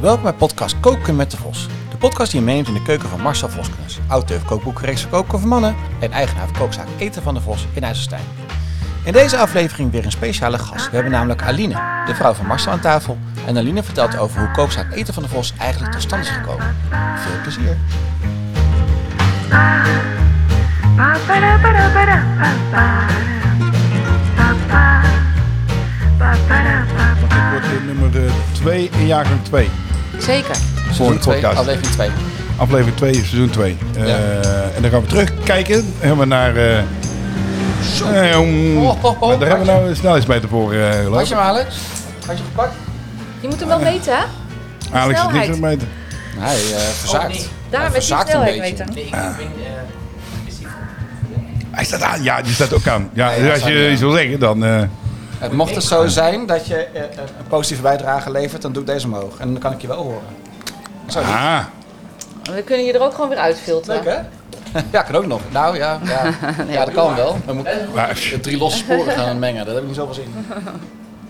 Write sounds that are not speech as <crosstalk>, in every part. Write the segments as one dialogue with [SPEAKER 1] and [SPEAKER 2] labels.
[SPEAKER 1] Welkom bij podcast Koken met de Vos. De podcast die je meeneemt in de keuken van Marcel Voskens. Auteur kookboekreeks voor koken voor mannen en eigenaar van kookzaak Eten van de Vos in IJsselstein. In deze aflevering weer een speciale gast. We hebben namelijk Aline, de vrouw van Marcel aan tafel. En Aline vertelt over hoe kookzaak Eten van de Vos eigenlijk tot stand is gekomen. Veel plezier.
[SPEAKER 2] Pa, para, para, para, pa, para. Pa, pa. Pa, para, pa,
[SPEAKER 3] Want
[SPEAKER 2] pa.
[SPEAKER 3] ik word in nummer 2 in jaargang 2.
[SPEAKER 4] Zeker.
[SPEAKER 3] Seizoen
[SPEAKER 1] twee,
[SPEAKER 3] podcast.
[SPEAKER 1] aflevering 2.
[SPEAKER 3] Aflevering 2, seizoen 2. en dan gaan we terugkijken. Helemaal naar... eh ehm,
[SPEAKER 1] Oh, oh, oh.
[SPEAKER 3] maar daar hebben we nou een snelheidsmeter voor, eh geloof
[SPEAKER 1] Was je
[SPEAKER 3] ik.
[SPEAKER 1] hem Alex? Had je gepakt?
[SPEAKER 4] Je moet hem wel weten, hè?
[SPEAKER 3] Alex het niet
[SPEAKER 4] snelheid.
[SPEAKER 3] zo'n meter.
[SPEAKER 1] Hij eh, verzaakt.
[SPEAKER 4] Daarom
[SPEAKER 1] Hij
[SPEAKER 4] is die
[SPEAKER 1] verzaakt
[SPEAKER 4] snelheid
[SPEAKER 1] een beetje.
[SPEAKER 4] weten.
[SPEAKER 3] Ah. Hij staat aan. Ja, die staat ook aan. Ja,
[SPEAKER 1] Ja, ja,
[SPEAKER 3] als
[SPEAKER 1] staat
[SPEAKER 3] je
[SPEAKER 1] aan.
[SPEAKER 3] iets wil zeggen, dan... eh,
[SPEAKER 1] Het mocht het zo zijn dat je eh, eh, een positieve bijdrage levert, dan doe ik deze omhoog. En dan kan ik je wel horen. Zo, lief.
[SPEAKER 3] ah,
[SPEAKER 4] We kunnen je er ook gewoon weer
[SPEAKER 1] leuk
[SPEAKER 4] uitfilteren.
[SPEAKER 1] hè? Ja, kan ook nog. Nou ja,
[SPEAKER 4] <laughs>
[SPEAKER 1] ja. ja dat kan wel. Dan moet ik
[SPEAKER 3] maar, pff.
[SPEAKER 1] de drie losse sporen gaan mengen, daar heb ik niet zoveel zin in.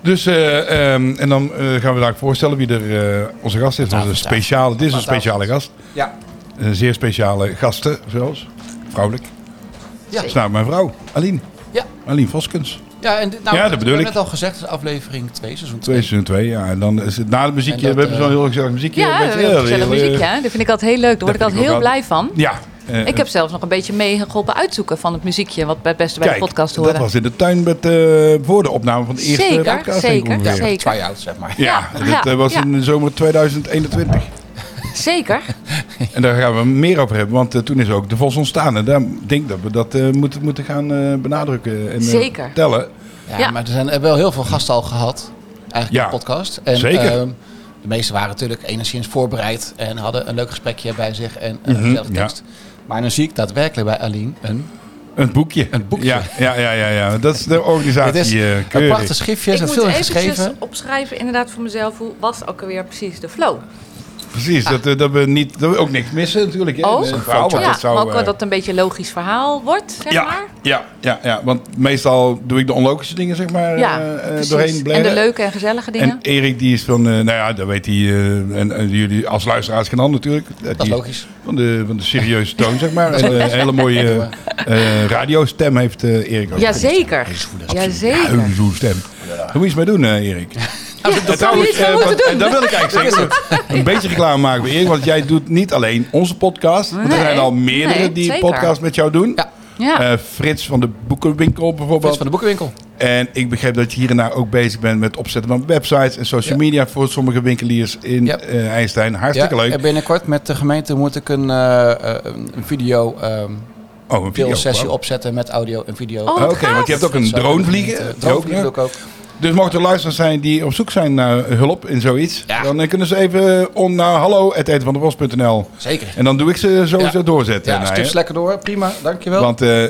[SPEAKER 3] dus, eh, ehm, en dan eh, gaan we daar voorstellen wie er eh, onze gast is. Onze
[SPEAKER 1] Fantastisch.
[SPEAKER 3] speciale, dit is een
[SPEAKER 1] Fantastisch.
[SPEAKER 3] speciale gast.
[SPEAKER 1] Ja,
[SPEAKER 3] Een zeer speciale gasten, zelfs. Vrouwelijk.
[SPEAKER 1] Ja.
[SPEAKER 3] Dat is nou mijn vrouw, Aline.
[SPEAKER 1] Ja.
[SPEAKER 3] Aline Voskens.
[SPEAKER 1] ja, en, dit- nou,
[SPEAKER 3] Ja, dat bedoel
[SPEAKER 1] heb
[SPEAKER 3] ik.
[SPEAKER 1] net al gezegd, dat is aflevering 2, seizoen 2.
[SPEAKER 3] 2 seizoen 2, ja. En dan is het na de
[SPEAKER 1] En
[SPEAKER 3] muziekje.
[SPEAKER 1] dat,
[SPEAKER 3] we hebben
[SPEAKER 1] eh,
[SPEAKER 3] zo'n heel gezellig muziekje.
[SPEAKER 4] Ja,
[SPEAKER 3] een beetje-
[SPEAKER 4] heel gezellig
[SPEAKER 3] heel, eh,
[SPEAKER 4] muziekje. hè? Dat vind ik altijd heel leuk. Daar word ik
[SPEAKER 3] dat vind
[SPEAKER 4] altijd
[SPEAKER 3] ik
[SPEAKER 4] heel
[SPEAKER 3] ook
[SPEAKER 4] blij van.
[SPEAKER 3] Ja. eh,
[SPEAKER 4] Ik heb zelfs nog een beetje meegeholpen uitzoeken van het muziekje... wat bij het beste bij
[SPEAKER 3] kijk,
[SPEAKER 4] de podcast
[SPEAKER 3] dat
[SPEAKER 4] hoorde.
[SPEAKER 3] was in de tuin met, eh, voor de opname van de eerste
[SPEAKER 4] Zeker,
[SPEAKER 3] podcast. denk ik
[SPEAKER 4] zeker,
[SPEAKER 3] ongeveer.
[SPEAKER 4] zeker.
[SPEAKER 1] Try-out, zeg maar.
[SPEAKER 3] Ja,
[SPEAKER 4] Ja,
[SPEAKER 3] dat
[SPEAKER 4] ja,
[SPEAKER 3] eh, was
[SPEAKER 4] ja.
[SPEAKER 3] in de
[SPEAKER 1] <laughs>
[SPEAKER 3] zomer 2021.
[SPEAKER 4] Zeker.
[SPEAKER 3] En daar gaan we meer over hebben, want eh, toen is ook de Vos ontstaan. En daar denk ik dat we dat eh, moeten, moeten gaan eh, benadrukken en eh,
[SPEAKER 4] Zeker.
[SPEAKER 3] vertellen.
[SPEAKER 1] Ja,
[SPEAKER 4] Ja.
[SPEAKER 1] maar er zijn er hebben wel heel veel gasten al gehad. Eigenlijk
[SPEAKER 3] Ja,
[SPEAKER 1] in de podcast. En,
[SPEAKER 3] zeker.
[SPEAKER 1] ehm, de meesten waren natuurlijk enigszins voorbereid en hadden een leuk gesprekje bij zich en een gezellige
[SPEAKER 3] Mhm, ja.
[SPEAKER 1] tekst. Maar dan zie ik daadwerkelijk bij Aline een.
[SPEAKER 3] Een boekje. Een
[SPEAKER 1] boekje.
[SPEAKER 3] Ja, ja, ja, ja, ja. dat is de organisatie.
[SPEAKER 1] Het is
[SPEAKER 3] eh,
[SPEAKER 1] een
[SPEAKER 3] keurig.
[SPEAKER 1] prachtig schriftje,
[SPEAKER 4] Ik
[SPEAKER 1] is er
[SPEAKER 4] moet
[SPEAKER 1] veel in
[SPEAKER 4] eventjes
[SPEAKER 1] geschreven.
[SPEAKER 4] opschrijven inderdaad voor mezelf... hoe was ook alweer precies de flow.
[SPEAKER 3] Precies,
[SPEAKER 1] Ah.
[SPEAKER 3] dat, eh, dat, we niet, dat we ook niks missen natuurlijk. hè.
[SPEAKER 4] Oh.
[SPEAKER 3] Dat is een verhaal, want
[SPEAKER 4] ja,
[SPEAKER 3] dat zou,
[SPEAKER 4] maar ook
[SPEAKER 3] eh,
[SPEAKER 4] dat het een beetje een logisch verhaal wordt, zeg
[SPEAKER 3] ja,
[SPEAKER 4] maar.
[SPEAKER 3] ja, ja, ja, want meestal doe ik de onlogische dingen, zeg maar,
[SPEAKER 4] Ja,
[SPEAKER 3] eh, eh,
[SPEAKER 4] precies.
[SPEAKER 3] doorheen
[SPEAKER 4] En
[SPEAKER 3] blerren.
[SPEAKER 4] de leuke en gezellige dingen.
[SPEAKER 3] En Erik, die is van, eh, nou ja, dat weet hij, eh, en, en jullie als luisteraars kennen hem natuurlijk.
[SPEAKER 1] Dat is logisch.
[SPEAKER 3] Van de, van de serieuze toon, zeg
[SPEAKER 1] <laughs>
[SPEAKER 3] maar. En eh, een hele mooie eh, eh, radiostem heeft eh, Erik ook.
[SPEAKER 4] Jazeker.
[SPEAKER 3] Ja,
[SPEAKER 4] Jazeker.
[SPEAKER 3] een zoete stem. Daar moet je iets mee doen, eh, Erik.
[SPEAKER 4] Ja, dat zou je
[SPEAKER 3] Trouwens,
[SPEAKER 4] iets aan
[SPEAKER 3] eh,
[SPEAKER 4] moeten
[SPEAKER 3] want-
[SPEAKER 4] doen.
[SPEAKER 3] en daar wil ik eigenlijk zeggen.
[SPEAKER 4] <laughs>
[SPEAKER 3] Een beetje reclame maken we Erik, want jij doet niet alleen onze podcast. want er
[SPEAKER 4] Nee,
[SPEAKER 3] zijn al meerdere
[SPEAKER 4] nee,
[SPEAKER 3] die
[SPEAKER 4] zeker.
[SPEAKER 3] podcast met jou doen.
[SPEAKER 1] Ja.
[SPEAKER 4] Ja.
[SPEAKER 3] Eh, Frits van de Boekenwinkel
[SPEAKER 1] Frits
[SPEAKER 3] bijvoorbeeld.
[SPEAKER 1] van de Boekenwinkel.
[SPEAKER 3] En ik begrijp dat je hier en daar ook bezig bent met opzetten van websites en social
[SPEAKER 1] Ja.
[SPEAKER 3] media voor sommige winkeliers in
[SPEAKER 1] Ja.
[SPEAKER 3] eh IJsselstein. Hartstikke
[SPEAKER 1] Ja,
[SPEAKER 3] leuk.
[SPEAKER 1] En binnenkort met de gemeente moet ik een, eh, eh, een video ehm
[SPEAKER 3] Oh, een video.
[SPEAKER 1] sessie
[SPEAKER 3] Wauw.
[SPEAKER 1] opzetten met audio en video.
[SPEAKER 4] Oh,
[SPEAKER 3] Oké,
[SPEAKER 4] wat gaaf.
[SPEAKER 3] want je hebt ook een
[SPEAKER 1] Zo,
[SPEAKER 3] drone
[SPEAKER 1] eh,
[SPEAKER 3] vliegen.
[SPEAKER 1] drone vliegen
[SPEAKER 3] Ook,
[SPEAKER 1] doe ik ook.
[SPEAKER 3] ja. Dus mochten er luisteraars zijn die op zoek zijn naar hulp in zoiets,
[SPEAKER 1] Ja.
[SPEAKER 3] dan eh, kunnen ze even on naar hallo
[SPEAKER 1] Zeker.
[SPEAKER 3] En dan doe ik ze sowieso
[SPEAKER 1] Ja.
[SPEAKER 3] doorzetten.
[SPEAKER 1] Ja,
[SPEAKER 3] Nou,
[SPEAKER 1] stips
[SPEAKER 3] hè.
[SPEAKER 1] lekker door. Prima, dankjewel.
[SPEAKER 3] Want eh,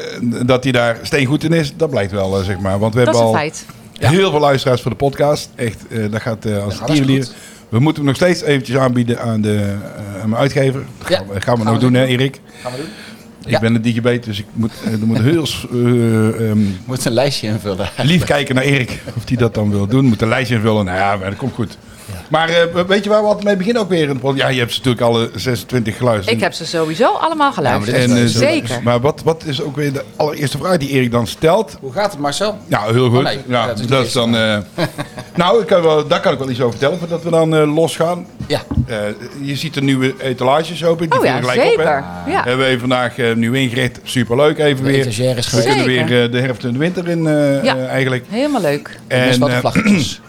[SPEAKER 3] dat hij daar steengoed in is, dat blijkt wel, eh, zeg maar. Want we
[SPEAKER 4] Dat is
[SPEAKER 3] hebben
[SPEAKER 4] een
[SPEAKER 3] al
[SPEAKER 4] feit.
[SPEAKER 3] heel veel luisteraars voor de podcast. Echt, eh, dat gaat eh, als
[SPEAKER 1] Ja,
[SPEAKER 3] het
[SPEAKER 1] dat is
[SPEAKER 3] tierenlier.
[SPEAKER 1] goed.
[SPEAKER 3] We moeten hem nog steeds eventjes aanbieden aan, de, eh, aan mijn uitgever. Dat
[SPEAKER 1] Ja,
[SPEAKER 3] gaan we, gaan we
[SPEAKER 1] gaan
[SPEAKER 3] nog
[SPEAKER 1] we
[SPEAKER 3] doen, hè, Erik?
[SPEAKER 1] Gaan we doen. Ja.
[SPEAKER 3] Ik ben een digibet, dus ik moet, eh, er moet heel s- eh, ehm,
[SPEAKER 1] Moet een lijstje
[SPEAKER 3] <laughs>
[SPEAKER 1] invullen.
[SPEAKER 3] lief kijken naar Erik. Of die dat dan wil doen. Moet een lijstje invullen. Nou ja, maar dat komt goed. Maar eh, weet je waar we altijd mee beginnen ook weer? in de podcast? Ja, je hebt ze natuurlijk alle 26 geluisterd.
[SPEAKER 4] Ik heb ze sowieso allemaal geluisterd.
[SPEAKER 1] Ja,
[SPEAKER 3] en, eh,
[SPEAKER 4] Zeker.
[SPEAKER 3] Maar wat, wat is ook weer de allereerste vraag die Erik dan stelt?
[SPEAKER 1] Hoe gaat het Marcel?
[SPEAKER 3] Nou, heel goed.
[SPEAKER 1] Oh, nee. Ja, dat
[SPEAKER 3] ja, dat
[SPEAKER 1] is
[SPEAKER 3] is,
[SPEAKER 1] niet eens.
[SPEAKER 3] dan. eh, <laughs> nou, ik kan wel, daar kan ik wel iets over vertellen voordat we dan eh, losgaan.
[SPEAKER 1] Ja,
[SPEAKER 3] Eh, je ziet de nieuwe etalages open. Die
[SPEAKER 4] Oh ja,
[SPEAKER 3] vullen gelijk op.
[SPEAKER 4] zeker.
[SPEAKER 3] hè.
[SPEAKER 4] Ja.
[SPEAKER 3] Hebben we even vandaag eh, nieuw ingericht. Superleuk even
[SPEAKER 1] de
[SPEAKER 3] weer.
[SPEAKER 1] etagère is
[SPEAKER 3] We
[SPEAKER 1] geweest.
[SPEAKER 3] kunnen weer
[SPEAKER 4] Zeker.
[SPEAKER 3] eh, de herfst en de winter in eh,
[SPEAKER 4] Ja.
[SPEAKER 3] eh, eigenlijk.
[SPEAKER 4] Helemaal leuk.
[SPEAKER 1] En,
[SPEAKER 3] En,
[SPEAKER 1] wat
[SPEAKER 3] eh, <clears throat>
[SPEAKER 1] vlaggetjes.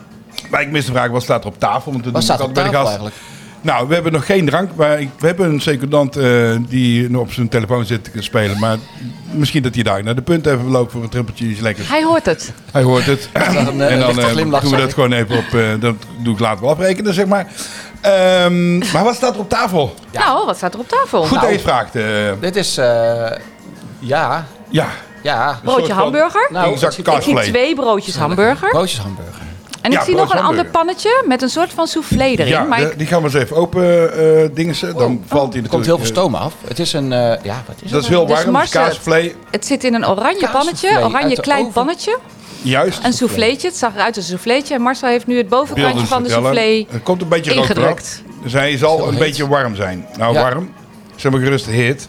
[SPEAKER 3] maar ik mis de vraag, wat staat er op tafel? Want dat
[SPEAKER 1] Wat
[SPEAKER 3] doe
[SPEAKER 1] staat
[SPEAKER 3] ik
[SPEAKER 1] op
[SPEAKER 3] altijd bij
[SPEAKER 1] tafel
[SPEAKER 3] de gast.
[SPEAKER 1] eigenlijk?
[SPEAKER 3] Nou, we hebben nog geen drank, maar ik- we hebben een secondant eh, die nog op zijn telefoon zit te spelen. Maar misschien dat hij daar naar de punt even loopt voor een trippeltje iets lekkers.
[SPEAKER 4] Hij hoort het.
[SPEAKER 3] Hij hoort het.
[SPEAKER 1] een, eh,
[SPEAKER 3] en dan
[SPEAKER 1] lichte
[SPEAKER 3] eh,
[SPEAKER 1] glimlach,
[SPEAKER 3] doen we
[SPEAKER 1] zag
[SPEAKER 3] dat
[SPEAKER 1] ik.
[SPEAKER 3] gewoon even op. eh, dat doe ik later wel afrekenen, zeg maar. Ehm, maar wat staat er op tafel?
[SPEAKER 4] Nou, wat staat er op tafel?
[SPEAKER 3] Goed
[SPEAKER 4] Nou,
[SPEAKER 3] dat je het vraagt. eh,
[SPEAKER 1] Dit is, eh, ja,
[SPEAKER 3] ja.
[SPEAKER 1] ja.
[SPEAKER 3] Een soort
[SPEAKER 4] Broodje
[SPEAKER 3] van
[SPEAKER 4] hamburger.
[SPEAKER 1] Nou,
[SPEAKER 3] Exact
[SPEAKER 1] ik
[SPEAKER 4] Ik zie
[SPEAKER 3] kaasvlees.
[SPEAKER 4] twee broodjes hamburger.
[SPEAKER 1] Broodjeshamburger.
[SPEAKER 4] En ik
[SPEAKER 3] Ja,
[SPEAKER 4] zie nog een
[SPEAKER 3] broodjes
[SPEAKER 4] ander
[SPEAKER 3] hamburger.
[SPEAKER 4] pannetje met een soort van soufflé
[SPEAKER 3] Ja,
[SPEAKER 4] erin. Maar
[SPEAKER 3] de-
[SPEAKER 4] ik-
[SPEAKER 3] die gaan we eens even open eh dingen. Dan valt hij natuurlijk.
[SPEAKER 1] Er Oh. komt heel veel
[SPEAKER 3] eh,
[SPEAKER 1] stoom af. Het is een, eh, ja, wat is
[SPEAKER 3] dat
[SPEAKER 1] het?
[SPEAKER 3] is heel
[SPEAKER 4] Dus
[SPEAKER 3] warm. Dus
[SPEAKER 4] Marcel-
[SPEAKER 3] kaasvlees,
[SPEAKER 4] Het zit in een oranje
[SPEAKER 1] Kaasvlees
[SPEAKER 4] pannetje,
[SPEAKER 1] uit
[SPEAKER 4] oranje
[SPEAKER 1] de
[SPEAKER 4] klein
[SPEAKER 1] oven.
[SPEAKER 4] pannetje.
[SPEAKER 3] juist.
[SPEAKER 4] Een souffleetje, het zag eruit als een souffleetje. En Marcel heeft nu het bovenkantje
[SPEAKER 3] Beeldend
[SPEAKER 4] van de
[SPEAKER 3] vertellen.
[SPEAKER 4] soufflé
[SPEAKER 3] Er komt een beetje rook eraf.
[SPEAKER 4] ingedrukt.
[SPEAKER 3] Zij zal
[SPEAKER 4] Zo
[SPEAKER 3] een
[SPEAKER 4] heet.
[SPEAKER 3] beetje warm zijn. Nou,
[SPEAKER 5] Ja.
[SPEAKER 3] warm. Zeg maar gerust hit.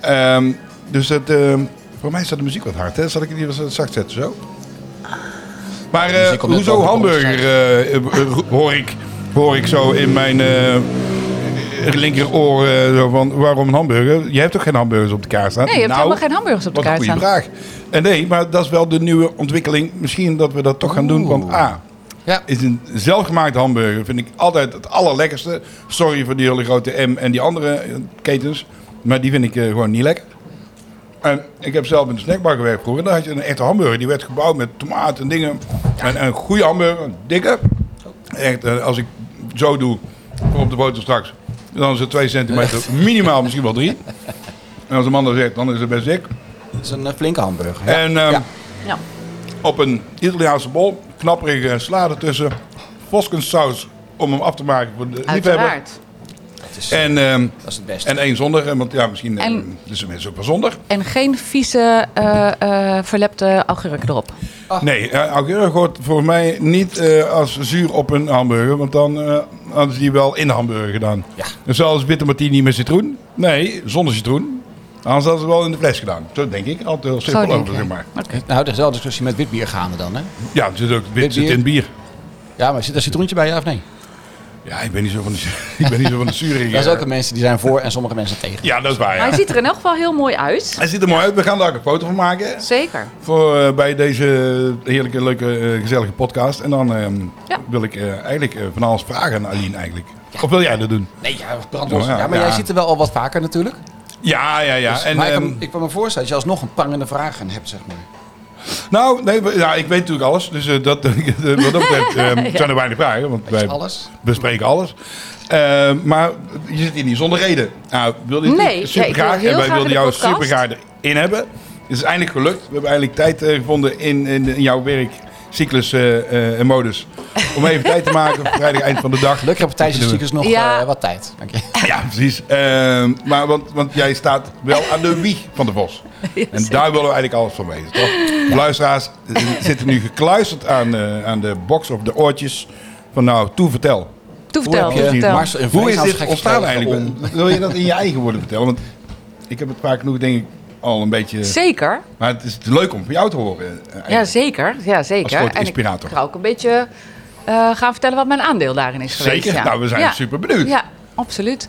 [SPEAKER 3] Ehm, dus dat, ehm, voor mij staat de muziek wat hard. Hè? Zal ik die wat eh, zacht zetten zo? Maar eh,
[SPEAKER 5] muziek komt net
[SPEAKER 3] hoezo
[SPEAKER 5] boven de
[SPEAKER 3] hamburger eh, eh, hoor, ik, hoor ik zo in mijn eh linkeroor. eh, zo van, waarom een hamburger? Jij hebt toch geen hamburgers op de kaart staan?
[SPEAKER 4] Nee, je hebt
[SPEAKER 3] Nou,
[SPEAKER 4] helemaal geen hamburgers op de
[SPEAKER 3] wat een
[SPEAKER 4] kaart
[SPEAKER 3] goede
[SPEAKER 4] staan.
[SPEAKER 3] vraag. En nee, maar dat is wel de nieuwe ontwikkeling. Misschien dat we dat toch gaan doen. Want A,
[SPEAKER 5] Ja.
[SPEAKER 3] is een zelfgemaakte hamburger vind ik altijd het allerlekkerste. Sorry voor die hele grote M en die andere eh, ketens. Maar die vind ik eh, gewoon niet lekker. En ik heb zelf in de snackbar gewerkt vroeger. Daar had je een echte hamburger. Die werd gebouwd met tomaat en dingen. En een goede hamburger, een dikke. Echt, eh, als ik zo doe voor op de boter straks. Dan is het twee centimeter, minimaal misschien wel drie. En als een man dat zegt, dan is het best dik.
[SPEAKER 5] Dat is een eh, flinke hamburger. Ja.
[SPEAKER 3] En ehm,
[SPEAKER 5] Ja.
[SPEAKER 4] Ja.
[SPEAKER 3] op een Italiaanse bol, knapperige salade tussen, voskensaus om hem af te maken voor de liefhebber.
[SPEAKER 4] Uiteraard.
[SPEAKER 5] Dat, is,
[SPEAKER 3] En, ehm,
[SPEAKER 5] dat is het beste.
[SPEAKER 3] en één zonder, eh, want ja, misschien
[SPEAKER 4] En-
[SPEAKER 3] ehm, is er mensen ook wel zonder.
[SPEAKER 4] En geen vieze, eh, eh, verlepte augurken erop.
[SPEAKER 3] Nee, eh, augurk hoort voor mij niet eh, als zuur op een hamburger, want dan eh, hadden ze die wel in de hamburger gedaan.
[SPEAKER 5] Ja.
[SPEAKER 3] En Zelfs witte martini met citroen. Nee, zonder citroen. Anders hadden ze wel in de fles gedaan. Zo denk ik. Altijd heel
[SPEAKER 4] Zo
[SPEAKER 3] simpel
[SPEAKER 4] denk
[SPEAKER 3] over,
[SPEAKER 4] je.
[SPEAKER 3] zeg maar.
[SPEAKER 4] Oké.
[SPEAKER 5] Nou, er is wel discussie met witbier gaande dan, hè?
[SPEAKER 3] Ja, het zit ook
[SPEAKER 5] Wit
[SPEAKER 3] wit zit
[SPEAKER 5] bier?
[SPEAKER 3] in bier.
[SPEAKER 5] Ja, maar zit er citroentje bij, ja of nee?
[SPEAKER 3] Ja, ik ben niet zo van de, <laughs> ik ben niet zo van de zure.
[SPEAKER 5] Dat is ook een mensen die zijn voor en sommige mensen tegen.
[SPEAKER 3] Ja, dat is waar. Ja.
[SPEAKER 4] Maar hij ziet er in elk geval heel mooi uit.
[SPEAKER 3] Hij ziet er mooi uit. We gaan daar ook een foto van maken.
[SPEAKER 4] Zeker.
[SPEAKER 3] Voor, eh, bij deze heerlijke, leuke, eh, gezellige podcast. En dan ehm,
[SPEAKER 4] Ja.
[SPEAKER 3] wil ik eh, eigenlijk eh, van alles vragen aan Aline eigenlijk. Of wil jij dat doen?
[SPEAKER 5] Nee, ja, brandlos.
[SPEAKER 3] Oh,
[SPEAKER 5] ja,
[SPEAKER 3] ja,
[SPEAKER 5] maar jij
[SPEAKER 3] ja.
[SPEAKER 5] ziet er wel al wat vaker natuurlijk. Dus
[SPEAKER 3] Ja, ja, ja. en,
[SPEAKER 5] maar ik,
[SPEAKER 3] ehm,
[SPEAKER 5] kan, ik kan me voorstellen dat je alsnog een prangende vraag aan hebt, zeg maar.
[SPEAKER 3] nou, nee, we- ja, ik weet natuurlijk alles. Dus eh, dat, <laughs> eh, wat dat betreft ehm, zijn er weinig vragen. Want wij
[SPEAKER 5] Alles.
[SPEAKER 3] bespreken alles. Eh, maar je zit hier niet zonder reden. Nou, wilde je
[SPEAKER 4] Nee,
[SPEAKER 3] natuurlijk
[SPEAKER 4] ja, ik
[SPEAKER 3] super
[SPEAKER 4] wil
[SPEAKER 3] graag.
[SPEAKER 4] heel
[SPEAKER 3] en wij
[SPEAKER 4] graag
[SPEAKER 3] wilden
[SPEAKER 4] in de
[SPEAKER 3] jou
[SPEAKER 4] podcast.
[SPEAKER 3] super graag erin hebben. Het is eindelijk gelukt. We hebben eindelijk tijd eh, gevonden in, in, in jouw werkcyclus eh, eh, en modus. Om even tijd te maken voor vrijdag eind van de dag.
[SPEAKER 5] Gelukkig hebben tijdens de cyclus nog
[SPEAKER 4] Ja.
[SPEAKER 5] eh, wat tijd. Dank je.
[SPEAKER 3] Ja, precies. Ehm, maar want, want jij staat wel aan de wieg van de Vos. En daar willen we eigenlijk alles van weten, toch? Luisteraars eh, zitten nu gekluisterd aan, eh, aan de box of de oortjes. Van nou, toe vertel.
[SPEAKER 4] Toevertel.
[SPEAKER 5] Hoe heb je
[SPEAKER 4] vertel.
[SPEAKER 5] Mars en
[SPEAKER 3] Hoe is
[SPEAKER 5] Vreesland
[SPEAKER 3] dit
[SPEAKER 5] gek
[SPEAKER 3] ontstaan
[SPEAKER 5] gekregen
[SPEAKER 3] eigenlijk?
[SPEAKER 5] om-
[SPEAKER 3] Wil je dat in je eigen woorden vertellen? Want ik heb het vaak genoeg, denk ik, al een beetje...
[SPEAKER 4] Zeker.
[SPEAKER 3] Maar het is leuk om van jou te horen. eh, eigenlijk.
[SPEAKER 4] Ja, zeker. Ja, zeker.
[SPEAKER 3] Als grote
[SPEAKER 4] en
[SPEAKER 3] inspirator.
[SPEAKER 4] ik ga ook een beetje eh, gaan vertellen wat mijn aandeel daarin is geweest.
[SPEAKER 3] Zeker?
[SPEAKER 4] ja.
[SPEAKER 3] Nou, we zijn
[SPEAKER 4] Ja.
[SPEAKER 3] super benieuwd.
[SPEAKER 4] Ja, absoluut.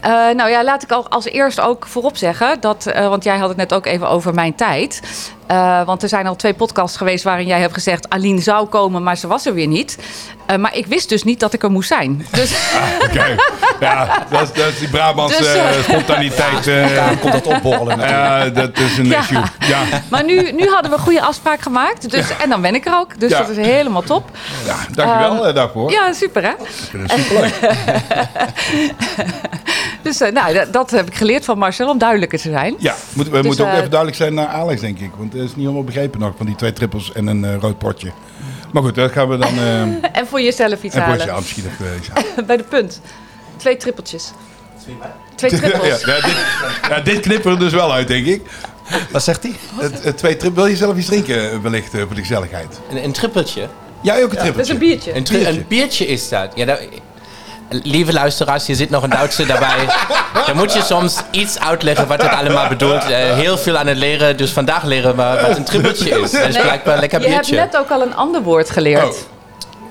[SPEAKER 4] Eh, nou ja, laat ik al als eerst ook voorop zeggen dat, eh, want jij had het net ook even over mijn tijd. Eh, want er zijn al twee podcasts geweest waarin jij hebt gezegd: Aline zou komen, maar ze was er weer niet. Eh, maar ik wist dus niet dat ik er moest zijn.
[SPEAKER 3] <laughs>
[SPEAKER 4] Dus
[SPEAKER 3] Ah, Oké. Ja, dat is, dat is die Brabantse
[SPEAKER 4] Dus, eh,
[SPEAKER 3] eh, <laughs> spontaniteit.
[SPEAKER 4] <laughs>
[SPEAKER 3] eh,
[SPEAKER 5] Daar komt dat opborrelen natuurlijk.
[SPEAKER 3] ja, dat is een
[SPEAKER 4] Ja.
[SPEAKER 3] issue. Ja.
[SPEAKER 4] Maar nu, nu hadden we een goede afspraak gemaakt. Dus, En dan ben ik er ook. Dus
[SPEAKER 3] Ja.
[SPEAKER 4] dat is helemaal top.
[SPEAKER 3] Ja, dankjewel wel daarvoor.
[SPEAKER 4] Ehm, Ja, super hè?
[SPEAKER 3] Ik vind het superleuk.
[SPEAKER 4] <laughs> Dus eh, nou, dat- dat heb ik geleerd van Marcel om duidelijker te zijn. <laughs>
[SPEAKER 3] Ja, moet, we
[SPEAKER 4] Dus,
[SPEAKER 3] moeten ook
[SPEAKER 4] eh,
[SPEAKER 3] even duidelijk zijn naar Alex, denk ik. Want het is niet helemaal begrepen nog van die twee trippels en een eh, rood potje. Maar goed, dat gaan we dan... eh en
[SPEAKER 4] En voor jezelf iets
[SPEAKER 3] voor
[SPEAKER 4] halen.
[SPEAKER 3] ja, misschien even eh, iets halen.
[SPEAKER 4] Bij de punt. Twee trippeltjes. Twee trippels.
[SPEAKER 3] <laughs> Ja, ja, dit, ja, dit knippen we er dus wel uit, denk ik.
[SPEAKER 5] Wat zegt hij?
[SPEAKER 3] Het, het twee trip, wil je zelf iets drinken, eh, wellicht, eh, voor de gezelligheid?
[SPEAKER 6] Een, een trippeltje.
[SPEAKER 3] Ja, ook een trippeltje.
[SPEAKER 4] Dat is een biertje.
[SPEAKER 6] Een, tri-
[SPEAKER 3] Biertje.
[SPEAKER 6] een biertje is dat. Ja, da- lieve luisteraars, hier zit nog een Duitser daarbij.
[SPEAKER 3] <laughs>
[SPEAKER 6] Dan moet je soms iets uitleggen wat het allemaal bedoelt. Eh, heel veel aan het leren, dus vandaag leren we wat een trippeltje is. Dat is
[SPEAKER 4] Nee,
[SPEAKER 6] blijkbaar een lekker
[SPEAKER 4] Je hebt
[SPEAKER 6] biertje.
[SPEAKER 4] net ook al een ander woord geleerd.
[SPEAKER 3] Oh.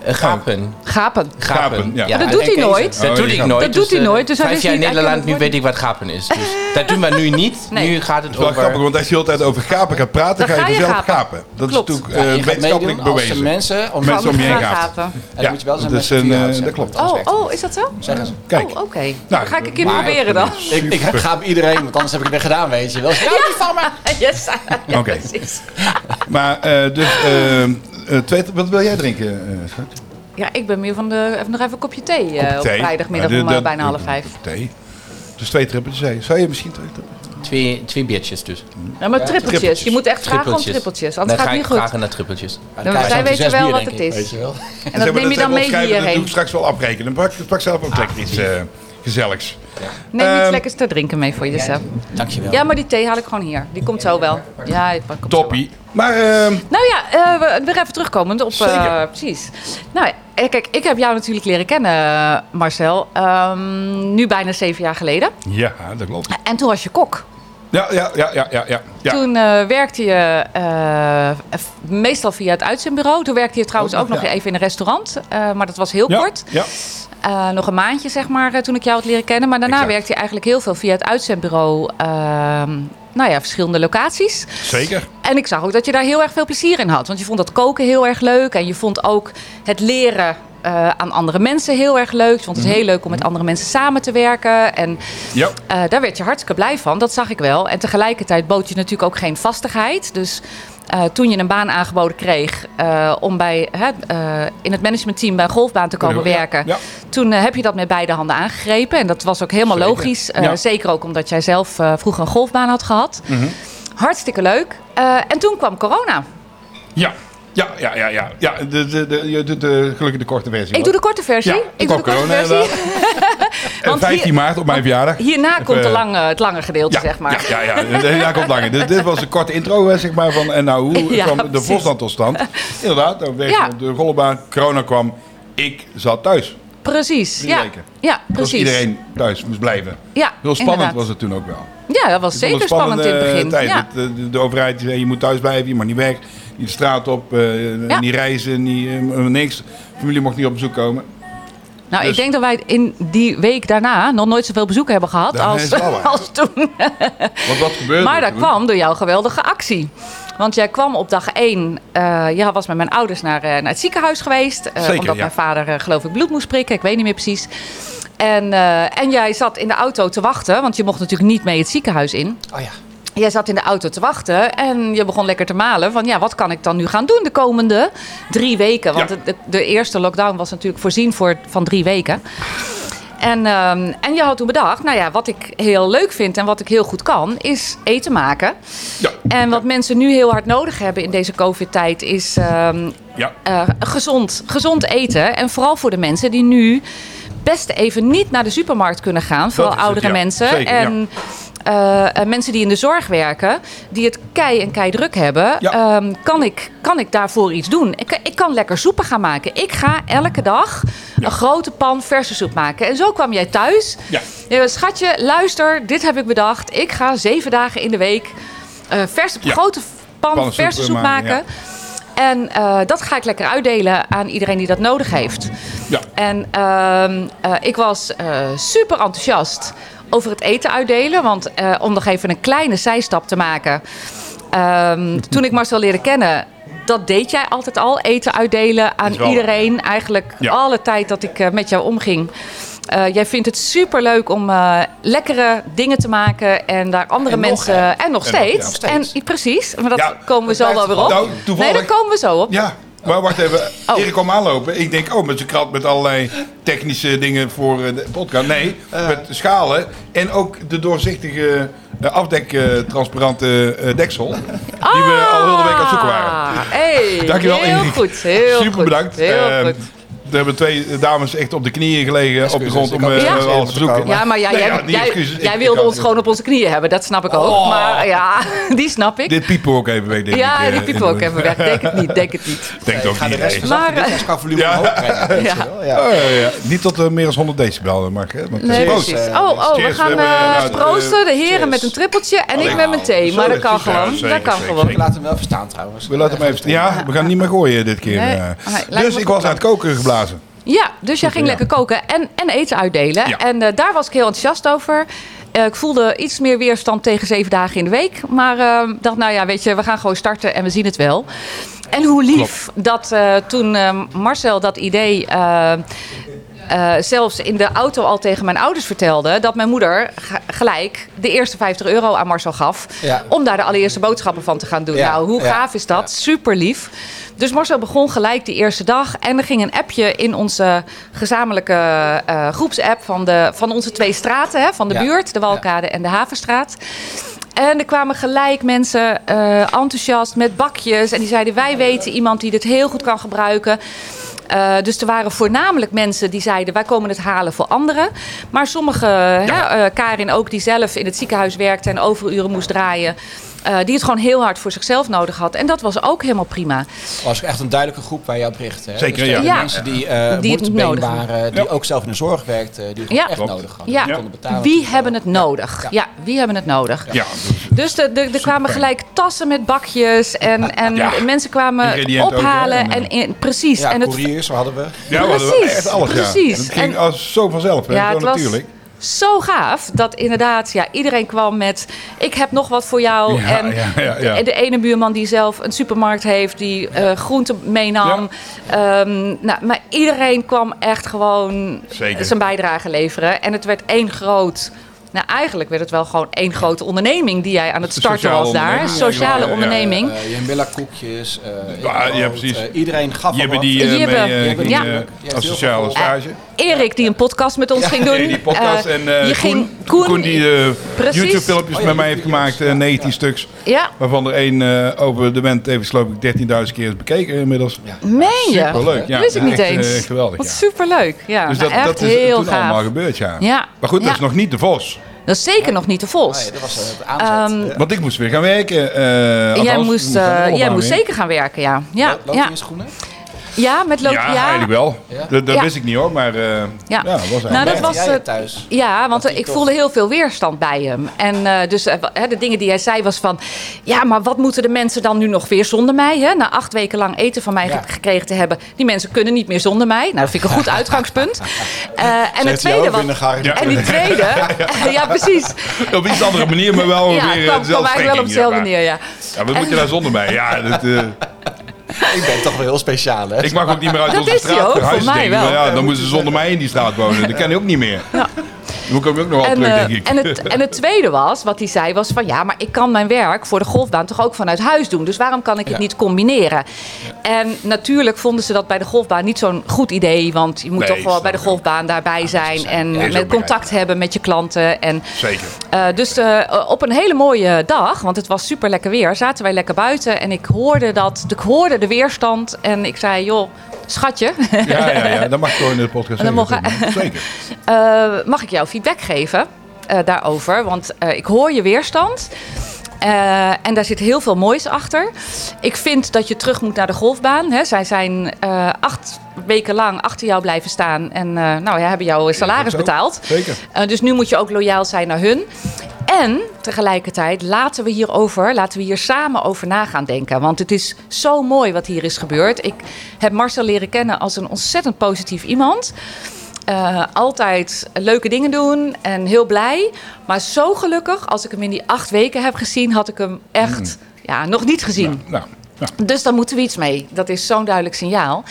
[SPEAKER 6] Eh, gapen.
[SPEAKER 4] Gapen.
[SPEAKER 6] Gapen.
[SPEAKER 3] ja. Maar
[SPEAKER 4] dat doet hij
[SPEAKER 6] en- en-
[SPEAKER 4] nooit.
[SPEAKER 6] Dat
[SPEAKER 3] Oh,
[SPEAKER 6] doe
[SPEAKER 3] die
[SPEAKER 6] ik
[SPEAKER 3] gapen.
[SPEAKER 6] nooit.
[SPEAKER 4] Dat doet hij
[SPEAKER 6] eh,
[SPEAKER 4] nooit, dus hij
[SPEAKER 6] vijf
[SPEAKER 4] wist
[SPEAKER 6] jaar in
[SPEAKER 4] niet, hij kan
[SPEAKER 6] Nederland,
[SPEAKER 4] het
[SPEAKER 6] nu weet ik wat gapen is. Dus dat doen we nu niet.
[SPEAKER 4] Nee.
[SPEAKER 6] Nu gaat het
[SPEAKER 3] Het is wel grappig,
[SPEAKER 6] over...
[SPEAKER 3] want als je de hele tijd over gapen gaat praten,
[SPEAKER 4] Dan
[SPEAKER 3] ga
[SPEAKER 4] ga
[SPEAKER 3] je
[SPEAKER 4] je
[SPEAKER 3] zelf
[SPEAKER 4] gapen.
[SPEAKER 3] gapen. Dat
[SPEAKER 4] Klopt.
[SPEAKER 3] is natuurlijk
[SPEAKER 5] Ja,
[SPEAKER 3] eh,
[SPEAKER 5] je gaat
[SPEAKER 3] wetenschappelijk
[SPEAKER 5] meedoen als de
[SPEAKER 3] bewezen.
[SPEAKER 5] mensen... Om
[SPEAKER 3] Mensen om je heen
[SPEAKER 4] Gaan
[SPEAKER 3] gaat.
[SPEAKER 4] gapen.
[SPEAKER 5] En dan moet je wel
[SPEAKER 3] Ja,
[SPEAKER 5] zijn
[SPEAKER 3] dat
[SPEAKER 5] mensen
[SPEAKER 3] is een,
[SPEAKER 5] vier
[SPEAKER 3] eh,
[SPEAKER 5] jaar, zeg
[SPEAKER 3] dat
[SPEAKER 5] maar.
[SPEAKER 3] klopt.
[SPEAKER 5] Anders
[SPEAKER 4] Oh,
[SPEAKER 5] werkt het
[SPEAKER 4] oh, is dat zo?
[SPEAKER 5] niet, zeggen ze.
[SPEAKER 3] Kijk.
[SPEAKER 4] Oh, oké.
[SPEAKER 3] Nou,
[SPEAKER 4] ga ik een keer
[SPEAKER 3] maar-
[SPEAKER 4] proberen dan.
[SPEAKER 5] <laughs> Ik, ik gaap iedereen, want anders heb ik het weer gedaan, weet je wel. Ja, die van me.
[SPEAKER 4] <laughs> Yes. Ja,
[SPEAKER 3] Oké.
[SPEAKER 4] precies.
[SPEAKER 3] Maar, eh, dus, eh, eh, twee, wat wil jij drinken, eh schat?
[SPEAKER 4] Ja, ik ben meer van de... Even nog even een kopje thee, eh, op
[SPEAKER 3] Thee.
[SPEAKER 4] vrijdagmiddag
[SPEAKER 3] Nou,
[SPEAKER 4] om
[SPEAKER 3] dit- dat-
[SPEAKER 4] eh, bijna half vijf.
[SPEAKER 3] Thee. Dus twee trippeltjes. hè? Zou je misschien twee trippeltjes?
[SPEAKER 6] Twee, twee biertjes dus.
[SPEAKER 4] Ja, maar trippeltjes.
[SPEAKER 3] trippeltjes.
[SPEAKER 4] Je moet echt vragen om trippeltjes. Anders
[SPEAKER 6] Dan
[SPEAKER 4] gaat
[SPEAKER 6] ga
[SPEAKER 4] het
[SPEAKER 6] ik
[SPEAKER 4] niet goed.
[SPEAKER 6] vragen naar trippeltjes.
[SPEAKER 4] Dan-
[SPEAKER 5] Kijk,
[SPEAKER 4] zij
[SPEAKER 5] zo'n
[SPEAKER 4] weten
[SPEAKER 5] zes
[SPEAKER 4] wel
[SPEAKER 5] bier,
[SPEAKER 4] wat
[SPEAKER 5] denk
[SPEAKER 4] het
[SPEAKER 5] ik,
[SPEAKER 4] is.
[SPEAKER 5] weet je wel. <laughs>
[SPEAKER 4] En dat neem je dan mee
[SPEAKER 3] Dat doe
[SPEAKER 4] hierheen. Ah,
[SPEAKER 3] ik straks wel afrekenen. Dan pak ik pak zelf ook lekker iets eh, gezelligs.
[SPEAKER 4] Neem iets
[SPEAKER 3] Ehm,
[SPEAKER 4] lekkers te drinken mee voor jezelf.
[SPEAKER 5] Dankjewel.
[SPEAKER 4] Ja, maar die thee haal ik gewoon hier. Die komt zo wel. Ja, ik pak hem zo wel.
[SPEAKER 3] Toppie. Maar, eh,
[SPEAKER 4] Nou ja, eh, we weer even terugkomend op... eh,
[SPEAKER 3] Zeker.
[SPEAKER 4] precies. Nou ja, eh, kijk, ik heb jou natuurlijk leren kennen, eh, Marcel. ehm, nu bijna zeven jaar geleden.
[SPEAKER 3] Ja, dat klopt.
[SPEAKER 4] En toen was je kok.
[SPEAKER 3] Ja, ja, ja, ja, ja. ja. ja.
[SPEAKER 4] Toen eh, werkte je eh, f- meestal via het uitzendbureau. Toen werkte je trouwens
[SPEAKER 3] Ook
[SPEAKER 4] ook
[SPEAKER 3] nog,
[SPEAKER 4] nog
[SPEAKER 3] Oh, ja.
[SPEAKER 4] even in een restaurant. eh, maar dat was heel
[SPEAKER 3] Ja,
[SPEAKER 4] kort.
[SPEAKER 3] Ja,
[SPEAKER 4] Eh, nog een maandje, zeg maar, eh, toen ik jou had leren kennen. Maar daarna
[SPEAKER 3] Exact.
[SPEAKER 4] werkte je eigenlijk heel veel via het uitzendbureau. ehm, nou ja, verschillende locaties.
[SPEAKER 3] zeker.
[SPEAKER 4] En ik zag ook dat je daar heel erg veel plezier in had. Want je vond dat koken heel erg leuk. En je vond ook het leren eh, aan andere mensen heel erg leuk. Je vond het heel leuk om met andere mensen samen te werken. En
[SPEAKER 3] Ja.
[SPEAKER 4] eh, daar werd je hartstikke blij van. Dat zag ik wel. En tegelijkertijd bood je natuurlijk ook geen vastigheid. Dus eh, toen je een baan aangeboden kreeg eh, om bij, hè, eh, in het managementteam bij een golfbaan te komen
[SPEAKER 3] Ja, ja.
[SPEAKER 4] werken.
[SPEAKER 3] Ja.
[SPEAKER 4] Toen eh, heb je dat met beide handen aangegrepen. En dat was ook helemaal
[SPEAKER 3] Zeker.
[SPEAKER 4] logisch. Eh,
[SPEAKER 3] Ja. Mhm.
[SPEAKER 4] Zeker ook omdat jij zelf eh, vroeger een golfbaan had gehad. Hartstikke leuk. Eh, en toen kwam corona.
[SPEAKER 3] Ja. Ja, ja, ja, ja. ja de, de, de, je doet eh, gelukkig de korte versie.
[SPEAKER 4] Ik doe de korte versie.
[SPEAKER 3] Ja,
[SPEAKER 4] ik doe
[SPEAKER 3] kwam
[SPEAKER 4] de korte
[SPEAKER 3] corona
[SPEAKER 4] versie.
[SPEAKER 3] En
[SPEAKER 4] Want
[SPEAKER 3] 15
[SPEAKER 4] hier-
[SPEAKER 3] maart op mijn verjaardag.
[SPEAKER 4] <laughs> Hierna
[SPEAKER 3] Of,
[SPEAKER 4] komt de
[SPEAKER 3] eh,
[SPEAKER 4] lange, het lange gedeelte,
[SPEAKER 3] Ja,
[SPEAKER 4] zeg maar.
[SPEAKER 3] ja, ja, ja. De- ja komt langer. Dit, dit was een korte intro, eh, zeg maar, van en nou, hoe
[SPEAKER 4] Ja,
[SPEAKER 3] kwam de
[SPEAKER 4] precies.
[SPEAKER 3] Vosland tot stand? Inderdaad, daar werkte
[SPEAKER 4] Ja.
[SPEAKER 3] op de golfbaan, corona kwam, ik zat thuis.
[SPEAKER 4] Precies.
[SPEAKER 3] Drie
[SPEAKER 4] ja.
[SPEAKER 3] weken.
[SPEAKER 4] ja, precies.
[SPEAKER 3] Dus iedereen thuis moest blijven.
[SPEAKER 4] Ja,
[SPEAKER 3] Heel spannend
[SPEAKER 4] inderdaad.
[SPEAKER 3] was het toen ook wel.
[SPEAKER 4] Ja, dat was
[SPEAKER 3] Ik vond
[SPEAKER 4] zeker
[SPEAKER 3] het
[SPEAKER 4] spannend in het
[SPEAKER 3] spannende eh,
[SPEAKER 4] begin.
[SPEAKER 3] tijd.
[SPEAKER 4] Ja.
[SPEAKER 3] De, de, de overheid zei, je moet thuis blijven, je mag niet weg, niet de straat op, eh,
[SPEAKER 4] Ja.
[SPEAKER 3] niet reizen, niet, eh, niks. Familie mocht niet op bezoek komen.
[SPEAKER 4] Nou,
[SPEAKER 3] Dus-
[SPEAKER 4] ik denk dat wij in die week daarna nog nooit zoveel bezoeken hebben gehad
[SPEAKER 3] Nou, Dat is
[SPEAKER 4] als, <laughs>
[SPEAKER 3] wel waar.
[SPEAKER 4] als toen.
[SPEAKER 3] Want wat gebeurde
[SPEAKER 4] Maar
[SPEAKER 3] er
[SPEAKER 4] dat
[SPEAKER 3] toen?
[SPEAKER 4] kwam door jouw geweldige actie. Want jij kwam op dag 1, eh jij was met mijn ouders naar, eh, naar het ziekenhuis geweest. eh,
[SPEAKER 3] Zeker,
[SPEAKER 4] omdat
[SPEAKER 3] ja.
[SPEAKER 4] mijn vader, eh, geloof ik, bloed moest prikken. Ik weet niet meer precies. En, eh, en jij zat in de auto te wachten, want je mocht natuurlijk niet mee het ziekenhuis in.
[SPEAKER 5] Oh ja.
[SPEAKER 4] Jij zat in de auto te wachten en je begon lekker te malen van ja, wat kan ik dan nu gaan doen de komende drie weken? Want
[SPEAKER 3] Ja.
[SPEAKER 4] de, de eerste lockdown was natuurlijk voorzien voor, van drie weken. En, ehm, en je had toen bedacht, nou ja, wat ik heel leuk vind en wat ik heel goed kan, is eten maken.
[SPEAKER 3] Ja.
[SPEAKER 4] En wat mensen nu heel hard nodig hebben in deze covid-tijd is ehm,
[SPEAKER 3] Ja.
[SPEAKER 4] eh, gezond, gezond eten. En vooral voor de mensen die nu best even niet naar de supermarkt kunnen gaan. Vooral
[SPEAKER 3] is het,
[SPEAKER 4] oudere
[SPEAKER 3] ja.
[SPEAKER 4] mensen.
[SPEAKER 3] Zeker,
[SPEAKER 4] en eh, eh, mensen die in de zorg werken, die het kei en kei druk hebben.
[SPEAKER 3] Ja.
[SPEAKER 4] ehm, kan, ik, kan ik daarvoor iets doen? Ik, ik kan lekker soepen gaan maken. Ik ga elke dag een grote pan verse soep maken. En zo kwam jij thuis.
[SPEAKER 3] Ja.
[SPEAKER 4] Je was, Schatje, luister, dit heb ik bedacht. Ik ga zeven dagen in de week eh, verse,
[SPEAKER 3] Ja.
[SPEAKER 4] grote pan
[SPEAKER 3] Pannensoep,
[SPEAKER 4] verse
[SPEAKER 3] eh,
[SPEAKER 4] soep
[SPEAKER 3] maken,
[SPEAKER 4] maken. En eh, dat ga ik lekker uitdelen aan iedereen die dat nodig heeft.
[SPEAKER 3] Ja.
[SPEAKER 4] En ehm, eh, ik was eh, super enthousiast over het eten uitdelen. Want eh, om nog even een kleine zijstap te maken. ehm, toen ik Marcel leerde kennen, dat deed jij altijd al. Eten uitdelen aan
[SPEAKER 3] Is wel-
[SPEAKER 4] iedereen. Eigenlijk
[SPEAKER 3] Ja.
[SPEAKER 4] alle tijd dat ik eh, met jou omging. Eh, jij vindt het super leuk om eh, lekkere dingen te maken en daar andere
[SPEAKER 5] En nog,
[SPEAKER 4] mensen.
[SPEAKER 5] hè?
[SPEAKER 4] en nog
[SPEAKER 3] En nog, ja,
[SPEAKER 4] steeds.
[SPEAKER 3] nog
[SPEAKER 5] steeds.
[SPEAKER 4] En, precies, maar dat
[SPEAKER 3] Ja,
[SPEAKER 4] komen we zo
[SPEAKER 5] blijft
[SPEAKER 4] wel weer op.
[SPEAKER 3] Nou, toevallig-
[SPEAKER 4] nee, daar komen we zo op.
[SPEAKER 3] Ja, maar wacht even.
[SPEAKER 4] Oh.
[SPEAKER 3] Erik kwam aanlopen. Ik denk, oh, met zijn krat met allerlei technische dingen voor eh, de podcast. Nee, met schalen en ook de doorzichtige eh, afdektransparante eh, deksel. Die we al heel de week aan het zoeken waren.
[SPEAKER 4] Ah, Hey,
[SPEAKER 3] <laughs> Dankjewel,
[SPEAKER 4] Ah. heel
[SPEAKER 3] Ingrid.
[SPEAKER 4] goed. Heel
[SPEAKER 3] Super
[SPEAKER 4] goed,
[SPEAKER 3] bedankt.
[SPEAKER 4] Heel
[SPEAKER 3] Eh,
[SPEAKER 4] goed.
[SPEAKER 3] Er hebben twee dames echt op de knieën gelegen op de grond
[SPEAKER 5] ik
[SPEAKER 3] om
[SPEAKER 5] had
[SPEAKER 3] eh,
[SPEAKER 4] niet gezien
[SPEAKER 3] alles te zoeken.
[SPEAKER 4] Ja, maar jij,
[SPEAKER 3] Nee,
[SPEAKER 4] jij,
[SPEAKER 3] ja, die
[SPEAKER 4] jij-
[SPEAKER 3] excuses. Ik-
[SPEAKER 4] jij
[SPEAKER 3] ik
[SPEAKER 4] wilde
[SPEAKER 3] had- Oh.
[SPEAKER 4] ons gewoon op onze knieën hebben, dat snap ik ook. Maar ja, <laughs> die snap ik.
[SPEAKER 3] Dit piepen we ook even weg. denk ik,
[SPEAKER 4] ja,
[SPEAKER 3] eh,
[SPEAKER 4] die
[SPEAKER 3] in
[SPEAKER 4] piepen
[SPEAKER 3] de-
[SPEAKER 4] ook even weg. Denk het niet, denk het niet.
[SPEAKER 3] Denk
[SPEAKER 5] Ik
[SPEAKER 3] ook
[SPEAKER 5] ga de
[SPEAKER 3] niet.
[SPEAKER 5] rest
[SPEAKER 3] nee.
[SPEAKER 5] verzachten.
[SPEAKER 4] Maar,
[SPEAKER 5] Dit is qua volume
[SPEAKER 3] Ja.
[SPEAKER 5] omhoog brengen. weet je
[SPEAKER 4] Ja.
[SPEAKER 5] wel. Ja.
[SPEAKER 3] Oh, ja, ja. Niet tot eh, meer dan 100 decibel mag. Hè? Want,
[SPEAKER 4] Nee,
[SPEAKER 3] Proost.
[SPEAKER 4] precies. Oh, oh we
[SPEAKER 3] Cheers,
[SPEAKER 4] gaan
[SPEAKER 3] we hebben, nou,
[SPEAKER 4] eh proosten. De heren
[SPEAKER 5] cheers.
[SPEAKER 4] met een trippeltje en ik
[SPEAKER 3] Alleen
[SPEAKER 4] met
[SPEAKER 3] maar.
[SPEAKER 4] mijn thee.
[SPEAKER 3] Zo,
[SPEAKER 4] Maar dat
[SPEAKER 3] dat
[SPEAKER 4] kan
[SPEAKER 3] is- ja,
[SPEAKER 4] gewoon.
[SPEAKER 3] zeker,
[SPEAKER 4] Dat kan
[SPEAKER 3] zeker,
[SPEAKER 5] Ik
[SPEAKER 4] gewoon.
[SPEAKER 3] zeker.
[SPEAKER 5] laat hem wel verstaan trouwens.
[SPEAKER 3] We laten hem even. Ja, we gaan niet meer gooien dit keer.
[SPEAKER 4] Nee.
[SPEAKER 3] eh.
[SPEAKER 4] Ah, nee, lijkt
[SPEAKER 3] dus
[SPEAKER 4] me
[SPEAKER 3] ik was
[SPEAKER 4] goed.
[SPEAKER 3] aan het koken geblazen.
[SPEAKER 4] Ja, dus jij ging
[SPEAKER 3] ja.
[SPEAKER 4] lekker koken en, en eten uitdelen.
[SPEAKER 3] Ja.
[SPEAKER 4] En eh, daar was ik heel enthousiast over. Eh, ik voelde iets meer weerstand tegen zeven dagen in de week. Maar eh, dacht, nou ja, weet je, we gaan gewoon starten en we zien het wel. En hoe lief dat eh, toen eh, Marcel dat idee eh, eh, zelfs in de auto al tegen mijn ouders vertelde... dat mijn moeder ge- gelijk de eerste 50 euro aan Marcel gaf...
[SPEAKER 5] Ja.
[SPEAKER 4] om daar de allereerste boodschappen van te gaan doen.
[SPEAKER 5] Ja,
[SPEAKER 4] Nou, hoe
[SPEAKER 5] ja.
[SPEAKER 4] gaaf is dat. Super lief. Dus Marcel begon gelijk die eerste dag. En er ging een appje in onze gezamenlijke eh, groepsapp van, de, van onze twee straten. Hè, van de
[SPEAKER 5] Ja.
[SPEAKER 4] buurt, de Walkade en de Havenstraat. En er kwamen gelijk mensen eh, enthousiast met bakjes. En die zeiden, wij weten iemand die dit heel goed kan gebruiken. Eh, dus er waren voornamelijk mensen die zeiden, wij komen het halen voor anderen. Maar sommige, hè, eh, Karin ook, die zelf in het ziekenhuis werkte en overuren moest draaien... eh, die het gewoon heel hard voor zichzelf nodig had. En dat was ook helemaal prima.
[SPEAKER 5] was ook echt een duidelijke groep waar je op richtte. hè?
[SPEAKER 3] Zeker,
[SPEAKER 5] Dus
[SPEAKER 3] ja.
[SPEAKER 5] de
[SPEAKER 4] Ja.
[SPEAKER 5] Mensen die, eh
[SPEAKER 4] Die het
[SPEAKER 5] moedbeen
[SPEAKER 4] nodig
[SPEAKER 5] waren, die
[SPEAKER 3] Ja.
[SPEAKER 5] ook zelf in de zorg werkten, die het gewoon
[SPEAKER 4] Ja.
[SPEAKER 5] echt
[SPEAKER 3] Klopt.
[SPEAKER 5] nodig hadden.
[SPEAKER 4] Ja,
[SPEAKER 5] Die konden betalen.
[SPEAKER 4] wie hebben het nodig?
[SPEAKER 5] Ja.
[SPEAKER 4] Ja, wie hebben het nodig?
[SPEAKER 3] Ja,
[SPEAKER 4] Dus de- de- er kwamen gelijk tassen met bakjes en, en
[SPEAKER 3] Nou, Ja.
[SPEAKER 4] mensen kwamen
[SPEAKER 3] Ingrediënten ook,
[SPEAKER 4] ophalen.
[SPEAKER 3] hè? En,
[SPEAKER 4] en, in- precies.
[SPEAKER 5] Ja,
[SPEAKER 4] en het,
[SPEAKER 5] couriers hadden we.
[SPEAKER 3] ja we hadden wel
[SPEAKER 4] Precies,
[SPEAKER 3] echt alles.
[SPEAKER 4] precies.
[SPEAKER 3] Ja. Het ging
[SPEAKER 4] En-
[SPEAKER 3] als zo vanzelf, hè?
[SPEAKER 4] Ja,
[SPEAKER 3] zo
[SPEAKER 4] het was
[SPEAKER 3] natuurlijk.
[SPEAKER 4] zo gaaf dat inderdaad ja, iedereen kwam met... ik heb nog wat voor jou.
[SPEAKER 3] Ja,
[SPEAKER 4] en
[SPEAKER 3] ja, ja, ja.
[SPEAKER 4] De, de ene buurman die zelf een supermarkt heeft... die eh groenten meenam. Ehm, nou, maar iedereen kwam echt gewoon
[SPEAKER 3] Zeker.
[SPEAKER 4] zijn bijdrage leveren. En het werd één groot... Nou, eigenlijk werd het wel gewoon één grote onderneming... die jij aan het
[SPEAKER 3] Een
[SPEAKER 4] starten
[SPEAKER 3] sociale
[SPEAKER 4] was daar. Een
[SPEAKER 3] onderneming, ja,
[SPEAKER 4] sociale
[SPEAKER 3] ja, ja, ja.
[SPEAKER 4] onderneming.
[SPEAKER 5] Eh, je Milla koekjes. eh,
[SPEAKER 3] Ja, ja,
[SPEAKER 5] brood,
[SPEAKER 3] precies.
[SPEAKER 5] eh, iedereen gaf
[SPEAKER 3] Je
[SPEAKER 5] al
[SPEAKER 3] hebt
[SPEAKER 5] wat.
[SPEAKER 3] die eh,
[SPEAKER 4] Jibbe.
[SPEAKER 3] mee, eh,
[SPEAKER 5] Jibbe,
[SPEAKER 3] ging,
[SPEAKER 4] ja.
[SPEAKER 3] eh,
[SPEAKER 5] Ja, is heel
[SPEAKER 3] als sociale
[SPEAKER 5] veel
[SPEAKER 3] stage.
[SPEAKER 4] Erik die een podcast met ons ging doen.
[SPEAKER 3] Nee, die podcast.
[SPEAKER 4] Eh,
[SPEAKER 3] en eh,
[SPEAKER 4] je
[SPEAKER 3] Koen,
[SPEAKER 4] ging, Koen,
[SPEAKER 3] Koen die eh, de
[SPEAKER 4] Precies.
[SPEAKER 3] YouTube-filmpjes
[SPEAKER 5] Oh ja,
[SPEAKER 3] met
[SPEAKER 5] die
[SPEAKER 3] mij heeft
[SPEAKER 5] video's,
[SPEAKER 3] gemaakt. eh,
[SPEAKER 5] ja,
[SPEAKER 3] 19
[SPEAKER 5] ja.
[SPEAKER 3] stuks.
[SPEAKER 4] Ja,
[SPEAKER 3] Waarvan er één eh, over de wind heeft, geloof ik, 13.000 keer is bekeken inmiddels. Ja.
[SPEAKER 4] meen je?
[SPEAKER 3] Superleuk. Ja,
[SPEAKER 4] Dat wist ik
[SPEAKER 3] ja,
[SPEAKER 4] niet
[SPEAKER 3] echt,
[SPEAKER 4] eens.
[SPEAKER 3] eh, geweldig,
[SPEAKER 4] Wat
[SPEAKER 3] ja.
[SPEAKER 4] superleuk. Ja,
[SPEAKER 3] Dus
[SPEAKER 4] maar
[SPEAKER 3] dat,
[SPEAKER 4] Ah, echt
[SPEAKER 3] dat is
[SPEAKER 4] heel
[SPEAKER 3] toen allemaal
[SPEAKER 4] gaaf.
[SPEAKER 3] gebeurd, ja.
[SPEAKER 4] Ja.
[SPEAKER 3] Maar goed, dat is
[SPEAKER 4] Ja.
[SPEAKER 3] nog niet de Vos.
[SPEAKER 4] Dat is zeker nog niet de
[SPEAKER 5] Nee,
[SPEAKER 4] Vos.
[SPEAKER 5] dat was eh, het aanzet.
[SPEAKER 4] Ehm,
[SPEAKER 5] Ja.
[SPEAKER 3] Want ik moest weer gaan werken. eh,
[SPEAKER 4] jij
[SPEAKER 3] althans,
[SPEAKER 4] moest,
[SPEAKER 3] ik aan de
[SPEAKER 4] eh, jij
[SPEAKER 3] loopbaan
[SPEAKER 4] moest
[SPEAKER 3] weer.
[SPEAKER 4] zeker gaan werken, ja. Ja,
[SPEAKER 5] Loopt hij
[SPEAKER 4] ja. Nou,
[SPEAKER 5] in schoenen?
[SPEAKER 4] ja met loop.
[SPEAKER 3] Ja, eigenlijk wel. Dat, dat
[SPEAKER 4] Ja.
[SPEAKER 3] wist ik niet hoor, maar eh, ja. dat was eigenlijk.
[SPEAKER 4] <laughs> Nou, dat
[SPEAKER 5] Merkte
[SPEAKER 4] was
[SPEAKER 5] jij
[SPEAKER 4] het-
[SPEAKER 5] het thuis.
[SPEAKER 4] Ja, want
[SPEAKER 5] Dat die
[SPEAKER 4] ik
[SPEAKER 5] toch-
[SPEAKER 4] voelde heel veel weerstand bij hem. En eh, dus eh, wa- hè, de dingen die hij zei was van... Ja, maar wat moeten de mensen dan nu nog weer zonder mij? Hè? Na acht weken lang eten van mij
[SPEAKER 5] Ja.
[SPEAKER 4] ge- gekregen te hebben. Die mensen kunnen niet meer zonder mij. Nou, dat vind ik een goed
[SPEAKER 5] <laughs>
[SPEAKER 4] uitgangspunt. Eh, en het
[SPEAKER 5] Zet hij
[SPEAKER 4] tweede
[SPEAKER 5] ook
[SPEAKER 4] wat...
[SPEAKER 5] in de garage?
[SPEAKER 4] En die tweede...
[SPEAKER 5] <laughs>
[SPEAKER 4] ja, precies.
[SPEAKER 3] Op iets andere manier, maar wel
[SPEAKER 4] ja,
[SPEAKER 3] weer eh,
[SPEAKER 4] kwam, kwam
[SPEAKER 3] zelfsprekking,
[SPEAKER 4] eigenlijk wel op hetzelfde
[SPEAKER 3] ja, maar-
[SPEAKER 4] neer, ja.
[SPEAKER 3] Ja, wat moet je daar zonder mij? Ja, dat, eh,
[SPEAKER 5] Ik ben toch wel heel speciaal, hè?
[SPEAKER 3] ik mag ook niet meer uit
[SPEAKER 4] Dat
[SPEAKER 3] onze
[SPEAKER 4] is hij
[SPEAKER 3] straat
[SPEAKER 4] ook, voor
[SPEAKER 3] verhuizen,
[SPEAKER 4] mij
[SPEAKER 3] denk ik. Maar
[SPEAKER 4] wel.
[SPEAKER 3] Ja, dan moeten ze zonder mij in die straat wonen. Dat kan ook niet meer.
[SPEAKER 4] Ja.
[SPEAKER 3] Dan moet ik ook nog wel
[SPEAKER 4] En,
[SPEAKER 3] terug,
[SPEAKER 4] eh,
[SPEAKER 3] denk ik.
[SPEAKER 4] en, het, en het tweede was, wat hij zei, was van ja, maar ik kan mijn werk voor de golfbaan toch ook vanuit huis doen. Dus waarom kan ik het
[SPEAKER 5] Ja.
[SPEAKER 4] niet combineren? En natuurlijk vonden ze dat bij de golfbaan niet zo'n goed idee. Want je moet
[SPEAKER 3] Nee,
[SPEAKER 4] toch wel
[SPEAKER 3] snap
[SPEAKER 4] bij de
[SPEAKER 3] ik.
[SPEAKER 4] golfbaan daarbij zijn. En
[SPEAKER 3] is ook
[SPEAKER 4] met contact
[SPEAKER 3] begrijpelijk.
[SPEAKER 4] hebben met je klanten. En
[SPEAKER 3] <laughs>
[SPEAKER 4] <laughs>
[SPEAKER 3] Zeker.
[SPEAKER 4] eh, dus eh, op een hele mooie dag, want het was super lekker weer, zaten wij lekker buiten. En ik hoorde dat, ik hoorde de weerstand. En ik zei, joh, schatje,
[SPEAKER 3] Ja, ja, ja, dat mag ik gewoon in de podcast
[SPEAKER 4] En dan
[SPEAKER 3] zeggen,
[SPEAKER 4] mogen-
[SPEAKER 3] natuurlijk. Zeker.
[SPEAKER 4] Eh, mag ik jou feedback geven eh, daarover? Want eh, ik hoor je weerstand. Eh, en daar zit heel veel moois achter. Ik vind dat je terug moet naar de golfbaan. Hè. Zij zijn eh, acht weken lang achter jou blijven staan. En eh, nou ja, hebben jouw
[SPEAKER 3] Goed
[SPEAKER 4] salaris
[SPEAKER 3] zo.
[SPEAKER 4] betaald.
[SPEAKER 3] Zeker.
[SPEAKER 4] Eh, dus nu moet je ook loyaal zijn naar hun. En tegelijkertijd laten we hierover, laten we hier samen over na gaan denken. Want het is zo mooi wat hier is gebeurd. Ik heb Marcel leren kennen als een ontzettend positief iemand. Eh, altijd leuke dingen doen en heel blij. Maar zo gelukkig, als ik hem in die acht weken heb gezien, had ik hem echt ja, nog niet gezien.
[SPEAKER 3] Nou, nou,
[SPEAKER 4] Dus daar moeten we iets mee. Dat is zo'n duidelijk signaal.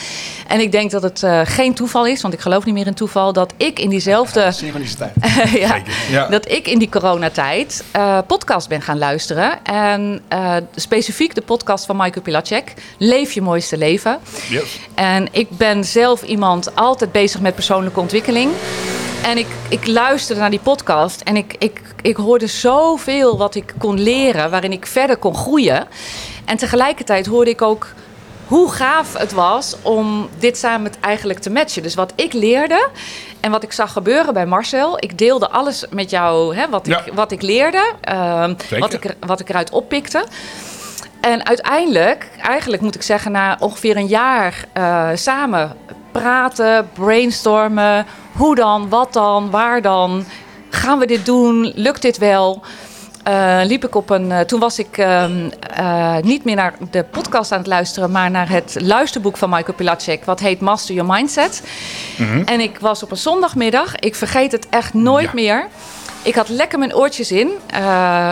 [SPEAKER 4] En ik denk dat het eh, geen toeval is, want ik geloof niet meer in toeval, dat ik in <laughs> diezelfde
[SPEAKER 5] Synchroniciteit.
[SPEAKER 4] ja,
[SPEAKER 3] Ja.
[SPEAKER 4] dat ik in die coronatijd eh podcast ben gaan luisteren. En eh, specifiek de podcast van Michael Pilacek, Leef je mooiste leven.
[SPEAKER 3] yes.
[SPEAKER 4] En ik ben zelf iemand altijd bezig met persoonlijke ontwikkeling. En ik, ik luisterde naar die podcast en ik, ik, ik hoorde zoveel wat ik kon leren, waarin ik verder kon groeien. En tegelijkertijd hoorde ik ook hoe gaaf het was om dit samen met eigenlijk te matchen. Dus wat ik leerde en wat ik zag gebeuren bij Marcel, ik deelde alles met jou, hè, wat,
[SPEAKER 3] Ja.
[SPEAKER 4] ik, wat ik leerde, ehm,
[SPEAKER 3] Zeker.
[SPEAKER 4] wat, ik, er- wat ik eruit oppikte. En uiteindelijk, eigenlijk moet ik zeggen, na ongeveer een jaar eh, samen praten, brainstormen. Hoe dan, wat dan, waar dan? Gaan we dit doen? Lukt dit wel? Eh, liep ik op een. eh, toen was ik ehm, eh, niet meer naar de podcast aan het luisteren, maar naar het luisterboek van Michael Pilacek. Wat heet Master Your Mindset. En ik was op een zondagmiddag. Ik vergeet het echt nooit
[SPEAKER 3] Mhm. Ja.
[SPEAKER 4] meer. Ik had lekker mijn oortjes in. eh,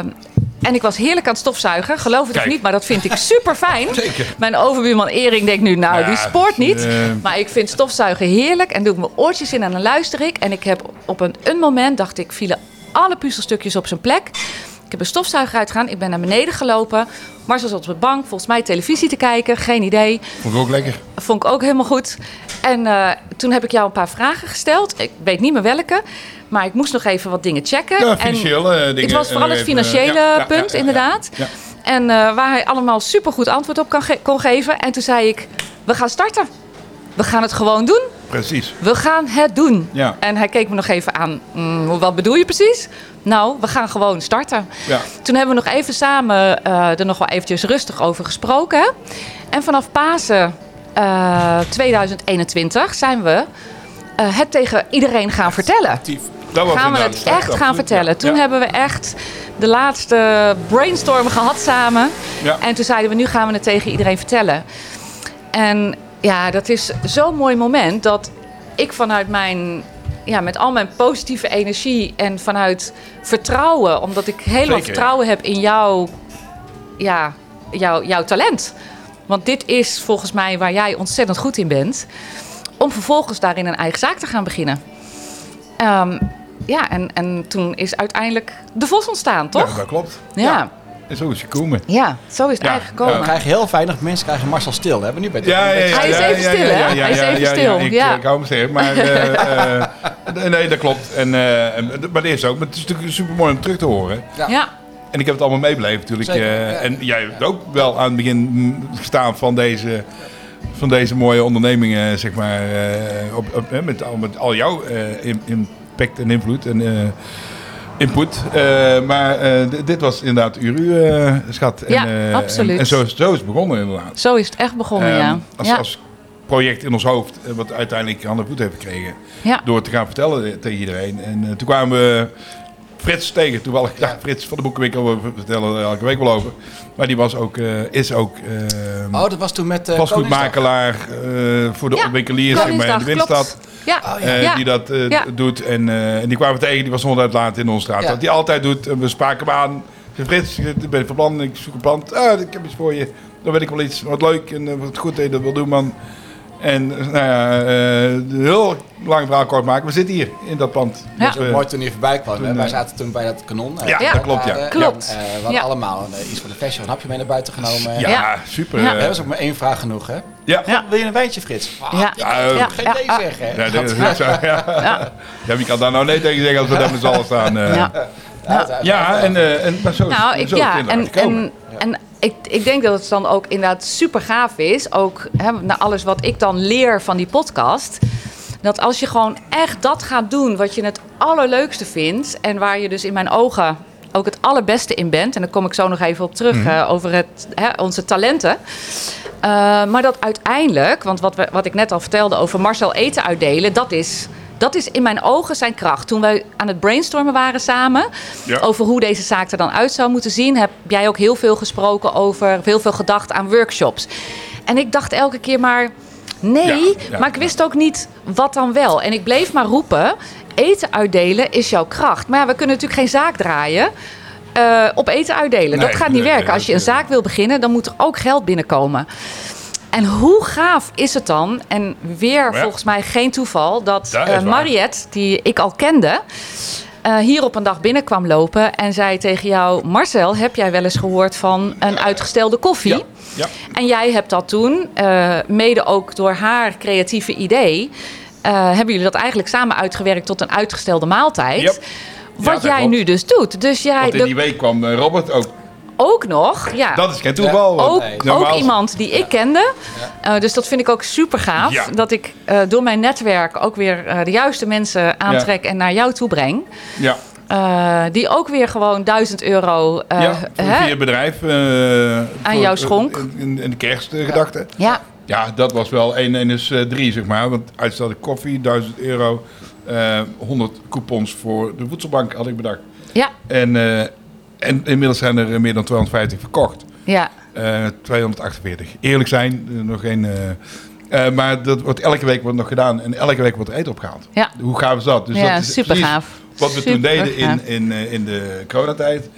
[SPEAKER 4] en ik was heerlijk aan het stofzuigen. Geloof het
[SPEAKER 3] Kijk.
[SPEAKER 4] of niet, maar dat vind ik super
[SPEAKER 3] <laughs>
[SPEAKER 4] fijn.
[SPEAKER 3] Zeker.
[SPEAKER 4] Mijn overbuurman Erik denkt nu, nou,
[SPEAKER 3] Ja,
[SPEAKER 4] die sport niet.
[SPEAKER 3] eh.
[SPEAKER 4] Maar ik vind stofzuigen heerlijk. En doe ik mijn oortjes in en dan luister ik. En ik heb op een, een moment, dacht ik, vielen alle puzzelstukjes op zijn plek. Ik heb een stofzuiger uitgegaan. Ik ben naar beneden gelopen. Marcel zat op de bank, volgens mij televisie te kijken. Geen idee.
[SPEAKER 3] Vond ik ook lekker.
[SPEAKER 4] Vond ik ook helemaal goed. En eh, toen heb ik jou een paar vragen gesteld. Ik weet niet meer welke. Maar ik moest nog even wat dingen checken.
[SPEAKER 3] Ja,
[SPEAKER 4] En-
[SPEAKER 3] financiële eh, dingen.
[SPEAKER 4] het was vooral
[SPEAKER 3] eh,
[SPEAKER 4] het
[SPEAKER 3] even,
[SPEAKER 4] financiële
[SPEAKER 3] ja, ja,
[SPEAKER 4] punt,
[SPEAKER 3] ja, ja,
[SPEAKER 4] inderdaad.
[SPEAKER 3] ja.
[SPEAKER 4] En eh, waar hij allemaal supergoed antwoord op kan ge- kon geven. En toen zei ik, we gaan starten. We gaan het gewoon doen.
[SPEAKER 3] Precies.
[SPEAKER 4] We gaan het doen.
[SPEAKER 3] Ja.
[SPEAKER 4] En hij keek me nog even aan. "Mm, wat bedoel je precies? Nou, we gaan gewoon starten.
[SPEAKER 3] Ja.
[SPEAKER 4] Toen hebben we nog even samen eh, er nog wel eventjes rustig over gesproken. En vanaf Pasen eh, 2021 zijn we eh, het tegen iedereen gaan vertellen.
[SPEAKER 3] Dat was
[SPEAKER 4] Gaan we
[SPEAKER 3] inderdaad
[SPEAKER 4] het
[SPEAKER 3] de start,
[SPEAKER 4] echt gaan
[SPEAKER 3] absoluut.
[SPEAKER 4] vertellen.
[SPEAKER 3] Ja.
[SPEAKER 4] Toen
[SPEAKER 3] Ja.
[SPEAKER 4] hebben we echt de laatste brainstorm gehad samen.
[SPEAKER 3] Ja.
[SPEAKER 4] En toen zeiden we, nu gaan we het tegen iedereen vertellen. En ja, dat is zo'n mooi moment dat ik vanuit mijn... Ja, met al mijn positieve energie en vanuit vertrouwen. Omdat ik helemaal
[SPEAKER 3] Zeker, ja.
[SPEAKER 4] vertrouwen heb in jou, ja, jou, jouw talent. Want dit is volgens mij waar jij ontzettend goed in bent. Om vervolgens daarin een eigen zaak te gaan beginnen. Ehm, ja, en, en toen is uiteindelijk de Vos ontstaan,
[SPEAKER 3] Ja,
[SPEAKER 4] toch?
[SPEAKER 3] dat klopt.
[SPEAKER 4] Ja, ja.
[SPEAKER 3] En zo is gekomen.
[SPEAKER 4] zo is het
[SPEAKER 3] Ja,
[SPEAKER 4] eigenlijk gekomen.
[SPEAKER 3] ja.
[SPEAKER 5] We krijgen heel weinig mensen krijgen Marcel stil. Hebben we nu bij dit-
[SPEAKER 4] Hij is even stil, hè? Hij is even stil,
[SPEAKER 3] Ik,
[SPEAKER 4] ja.
[SPEAKER 3] ik hou hem stil, maar... eh, eh, <laughs> nee, dat klopt. En, eh, en- maar dat is ook. Maar het is natuurlijk super mooi om terug te horen.
[SPEAKER 5] Ja.
[SPEAKER 4] ja.
[SPEAKER 3] En ik heb het allemaal meebeleefd natuurlijk.
[SPEAKER 5] Zeker,
[SPEAKER 3] eh,
[SPEAKER 5] ja.
[SPEAKER 3] En jij hebt ook wel aan het begin mm, gestaan van deze, van deze mooie ondernemingen, zeg maar. eh, op, op, eh, met, al, met al jouw eh, im- impact en invloed en eh, input. Eh, maar eh, d- dit was inderdaad uw eh, schat. En,
[SPEAKER 4] Ja,
[SPEAKER 3] eh,
[SPEAKER 4] absoluut.
[SPEAKER 3] En, en zo, is- zo is het begonnen inderdaad.
[SPEAKER 4] zo is het echt begonnen,
[SPEAKER 3] Ehm,
[SPEAKER 4] Oh ja.
[SPEAKER 3] als,
[SPEAKER 4] ja.
[SPEAKER 3] als project in ons hoofd, eh, wat uiteindelijk handen en voet heeft gekregen.
[SPEAKER 4] Ja.
[SPEAKER 3] Door te gaan vertellen eh, tegen iedereen. En eh, toen kwamen we Frits tegen. Toevallig, <laughs> ja, Frits van de Boekenwinkel, we vertellen er elke week wel over. Maar die was ook, eh, is ook ehm
[SPEAKER 5] Oh, dat was toen met eh Koningsdag.
[SPEAKER 3] vastgoedmakelaar eh, voor de
[SPEAKER 4] Ja,
[SPEAKER 3] winkeliers zeg maar, in
[SPEAKER 4] Koningsdag,
[SPEAKER 3] de
[SPEAKER 4] klopt.
[SPEAKER 3] winstad.
[SPEAKER 4] Oh, Ja,
[SPEAKER 3] eh,
[SPEAKER 4] ja.
[SPEAKER 3] Die dat eh,
[SPEAKER 4] Ja.
[SPEAKER 3] doet. En, eh, en die kwamen we tegen, die was honderd in onze straat.
[SPEAKER 5] Ja.
[SPEAKER 3] Wat die altijd doet, en we spraken hem aan. Ik zei, Frits, ik ben van plan, ik zoek een pand. Ah, ik heb iets voor je. Dan weet ik wel iets wat leuk en eh, wat goed dat je dat wil doen, man. En eh, nou ja, eh, heel lang verhaal kort maken. We zitten hier in dat pand.
[SPEAKER 4] Ja.
[SPEAKER 3] Dat eh, we-
[SPEAKER 1] Mooi toen hij voorbij kwam. hè?
[SPEAKER 3] eh,
[SPEAKER 1] Wij zaten toen bij dat kanon. eh,
[SPEAKER 3] Ja,
[SPEAKER 1] bij
[SPEAKER 4] dat
[SPEAKER 1] elkaar,
[SPEAKER 3] klopt, ja.
[SPEAKER 1] eh,
[SPEAKER 4] Klopt.
[SPEAKER 1] eh, we hadden
[SPEAKER 4] Ja.
[SPEAKER 1] allemaal een, eh, iets voor de fashion. Een hapje mee naar buiten genomen.
[SPEAKER 3] ja,
[SPEAKER 4] Ja.
[SPEAKER 3] super.
[SPEAKER 4] Ja.
[SPEAKER 3] eh,
[SPEAKER 1] Dat was ook maar één vraag genoeg, hè?
[SPEAKER 3] ja.
[SPEAKER 5] Ja, wil je een wijntje, Frits?
[SPEAKER 4] ja.
[SPEAKER 3] Ja, eh,
[SPEAKER 4] Ja.
[SPEAKER 1] Ah, Geen
[SPEAKER 4] Ja.
[SPEAKER 1] nee zeggen, hè?
[SPEAKER 3] Ja, dat is ook zo, ja. Ja. wie kan daar nou nee tegen zeggen als we daar met z'n allen staan? eh.
[SPEAKER 4] Ja.
[SPEAKER 1] Ja, dat-
[SPEAKER 3] Ja, en, eh, en maar zo, is- zo
[SPEAKER 4] Nou, ik,
[SPEAKER 3] is het
[SPEAKER 4] ja,
[SPEAKER 3] inderdaad
[SPEAKER 4] en,
[SPEAKER 3] gekomen.
[SPEAKER 4] en, en ik, ik denk dat het dan ook inderdaad super gaaf is. Ook hè, na alles wat ik dan leer van die podcast. Dat als je gewoon echt dat gaat doen wat je het allerleukste vindt. En waar je dus in mijn ogen ook het allerbeste in bent. En daar kom ik zo nog even op
[SPEAKER 3] Mhm.
[SPEAKER 4] terug eh, over het, hè, onze talenten. Eh, maar dat uiteindelijk, want wat, we, wat ik net al vertelde over Marcel eten uitdelen, dat is, dat is in mijn ogen zijn kracht. Toen wij aan het brainstormen waren samen
[SPEAKER 3] Ja.
[SPEAKER 4] over hoe deze zaak er dan uit zou moeten zien, heb jij ook heel veel gesproken over, heel veel gedacht aan workshops. En ik dacht elke keer maar, nee,
[SPEAKER 3] Ja, ja.
[SPEAKER 4] maar ik wist ook niet wat dan wel. En ik bleef maar roepen, eten uitdelen is jouw kracht. Maar ja, we kunnen natuurlijk geen zaak draaien. eh, op eten uitdelen.
[SPEAKER 3] Nee,
[SPEAKER 4] dat gaat
[SPEAKER 3] nee,
[SPEAKER 4] niet
[SPEAKER 3] nee,
[SPEAKER 4] werken. Als je een
[SPEAKER 3] dat, eh,
[SPEAKER 4] zaak wil beginnen, dan moet er ook geld binnenkomen. En hoe gaaf is het dan? En weer
[SPEAKER 3] Ja.
[SPEAKER 4] volgens mij geen toeval dat
[SPEAKER 3] Dat is
[SPEAKER 4] eh,
[SPEAKER 3] waar.
[SPEAKER 4] Mariette, die ik al kende, eh, hier op een dag binnenkwam lopen en zei tegen jou: Marcel, heb jij wel eens gehoord van een uitgestelde koffie?
[SPEAKER 3] Ja.
[SPEAKER 4] En jij hebt dat toen, eh, mede ook door haar creatieve idee, eh, hebben jullie dat eigenlijk samen uitgewerkt tot een uitgestelde maaltijd.
[SPEAKER 3] Yep. Ja,
[SPEAKER 4] Wat
[SPEAKER 3] dat
[SPEAKER 4] jij
[SPEAKER 3] klopt.
[SPEAKER 4] nu dus doet. Dus jij
[SPEAKER 3] Want in
[SPEAKER 4] de,
[SPEAKER 3] die week kwam eh, Robert ook.
[SPEAKER 4] ook nog. Ja,
[SPEAKER 3] Dat is geen toeval. want
[SPEAKER 4] ook,
[SPEAKER 3] normaal-
[SPEAKER 4] ook iemand die ik kende. Eh, dus dat vind ik ook super gaaf.
[SPEAKER 3] Ja.
[SPEAKER 4] Dat ik eh, door mijn netwerk ook weer eh, de juiste mensen aantrek en naar jou toe breng.
[SPEAKER 3] Ja,
[SPEAKER 4] Eh, die ook weer gewoon 1000 euro. eh,
[SPEAKER 3] ja voor
[SPEAKER 4] hè?
[SPEAKER 3] via bedrijf. eh, voor-
[SPEAKER 4] jou schonk.
[SPEAKER 3] In, in, in de kerstgedachte. Ja.
[SPEAKER 4] ja.
[SPEAKER 3] dat was wel 1 1 is eh, 3, zeg maar. Want uitstelde koffie, 1000 euro. eh 100 coupons voor de voedselbank had ik bedacht.
[SPEAKER 4] Ja.
[SPEAKER 3] En, eh, en inmiddels zijn er eh, meer dan 250 verkocht.
[SPEAKER 4] Ja.
[SPEAKER 3] Eh, 248. Eerlijk zijn, eh, nog geen. eh, eh, maar dat wordt elke week wordt nog gedaan en elke week wordt er eten opgehaald.
[SPEAKER 4] Ja.
[SPEAKER 3] Hoe gaaf is dat? Dus
[SPEAKER 4] Ja,
[SPEAKER 3] dat is
[SPEAKER 4] supergaaf.
[SPEAKER 3] precies Wat we toen deden in,
[SPEAKER 4] Supergaaf.
[SPEAKER 3] in, eh, in de coronatijd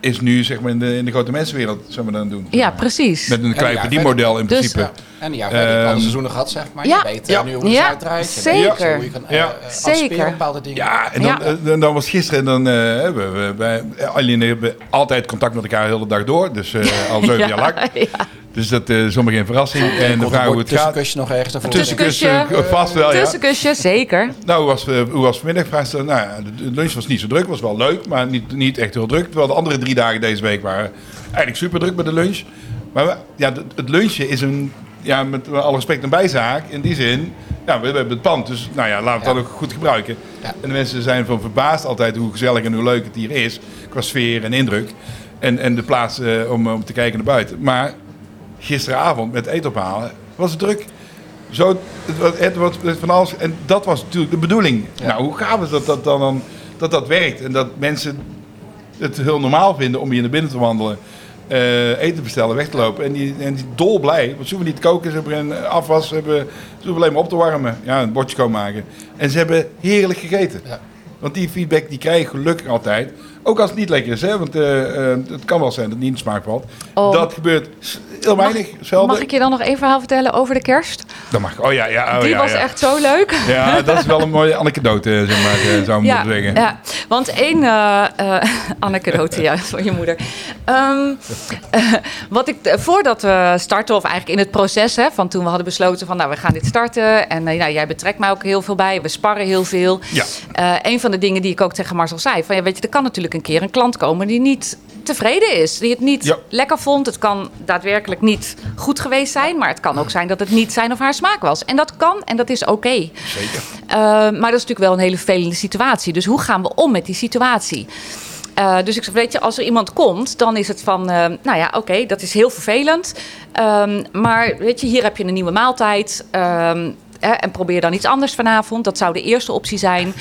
[SPEAKER 3] is nu zeg maar in de, in de grote mensenwereld zijn we dat aan het doen.
[SPEAKER 4] ja, precies.
[SPEAKER 3] Met een klein
[SPEAKER 1] ja,
[SPEAKER 3] verdienmodel in
[SPEAKER 4] dus-
[SPEAKER 3] principe.
[SPEAKER 1] Ja. En ja, we hebben alle
[SPEAKER 3] Ehm,
[SPEAKER 1] seizoenen gehad, zeg maar.
[SPEAKER 4] ja.
[SPEAKER 1] Je weet
[SPEAKER 3] Ja.
[SPEAKER 1] eh, nu hoe het
[SPEAKER 4] Ja,
[SPEAKER 1] uitdraait. Je
[SPEAKER 4] zeker.
[SPEAKER 1] weet hoe je kan eh,
[SPEAKER 3] Ja.
[SPEAKER 1] eh,
[SPEAKER 4] Zeker.
[SPEAKER 1] anticiperen op bepaalde dingen.
[SPEAKER 3] Ja, en dan,
[SPEAKER 4] Ja.
[SPEAKER 3] eh, dan, dan was gisteren, dan eh, hebben we, wij, Aline hebben altijd contact met elkaar de hele dag door. Dus eh, al zeven
[SPEAKER 4] <laughs> Ja,
[SPEAKER 3] jaar lang.
[SPEAKER 4] ja.
[SPEAKER 3] Dus dat is zomaar geen verrassing. En de
[SPEAKER 1] Komt
[SPEAKER 3] vraag
[SPEAKER 1] een
[SPEAKER 3] hoe het gaat.
[SPEAKER 1] tussenkusje nog ergens daarvoor.
[SPEAKER 3] Tussenkussen,
[SPEAKER 4] Tussenkusje.
[SPEAKER 3] Dus, eh, vast wel oh ja.
[SPEAKER 4] Tussenkusje, zeker.
[SPEAKER 3] Nou, hoe was, eh, hoe was vanmiddag? Vraag ze, nou ja, de- de lunch was niet zo druk. was wel leuk, maar niet, niet echt heel druk. Terwijl de andere drie dagen deze week waren eigenlijk super druk met de lunch. Maar we- ja, de- het lunchje is een ja, met alle respect een bijzaak. In die zin, ja, we, we hebben het pand. Dus nou ja, laten we dat ook goed gebruiken. En de mensen zijn van verbaasd altijd hoe gezellig en hoe leuk het hier is. Qua sfeer en indruk. En, en de plaats eh, om, om te kijken naar buiten. Maar gisteravond met eten ophalen was het druk. Zo, het, was- het, was van alles. En dat was natuurlijk de bedoeling. Nou, hoe gaaf is dat dat dan, dan dat, dat werkt? En dat mensen het heel normaal vinden om hier naar binnen te wandelen. eh, eten te bestellen, weg te lopen. En die, en die dolblij, want ze hoeven niet te koken, ze hebben een afwas, ze, hebben, ze hoeven alleen maar op te warmen. Ja, een bordje schoonmaken. En ze hebben heerlijk gegeten. Want die feedback die krijg ik gelukkig altijd. Ook als het niet lekker is, hè? want eh, eh, het kan wel zijn dat het niet in de smaak valt.
[SPEAKER 4] Oh.
[SPEAKER 3] Dat gebeurt s- heel
[SPEAKER 4] Mag-
[SPEAKER 3] weinig, zelden.
[SPEAKER 4] Mag ik je dan nog één verhaal vertellen over de kerst?
[SPEAKER 3] Dat mag. Oh ja, ja. Oh,
[SPEAKER 4] Die
[SPEAKER 3] ja,
[SPEAKER 4] was
[SPEAKER 3] ja.
[SPEAKER 4] echt zo leuk.
[SPEAKER 3] Ja, dat is wel een mooie anekdote, zeg maar, eh, zou ik
[SPEAKER 4] Ja,
[SPEAKER 3] moeten zeggen.
[SPEAKER 4] ja, want één eh eh <laughs> anekdote ja, <laughs> van je moeder. Ehm, eh, wat ik, eh, voordat we starten, of eigenlijk in het proces hè, van toen we hadden besloten van nou we gaan dit starten. En eh, nou, jij betrekt mij ook heel veel bij, we sparren heel veel.
[SPEAKER 3] Ja.
[SPEAKER 4] Eh, een van de dingen die ik ook tegen Marcel zei, van ja, weet je, er kan natuurlijk een keer een klant komen die niet tevreden is, die het niet
[SPEAKER 3] Ja.
[SPEAKER 4] lekker vond. Het kan daadwerkelijk niet goed geweest zijn, maar het kan ook zijn dat het niet zijn of haar smaak was. En dat kan en dat is oké.
[SPEAKER 3] Zeker.
[SPEAKER 4] Eh, maar dat is natuurlijk wel een hele vervelende situatie. Dus hoe gaan we om met die situatie? Eh, dus ik zeg, weet je, als er iemand komt, dan is het van, eh, nou ja, oké, dat is heel vervelend. Ehm, maar weet je, hier heb je een nieuwe maaltijd. ehm, hè, en probeer dan iets anders vanavond. Dat zou de eerste optie zijn.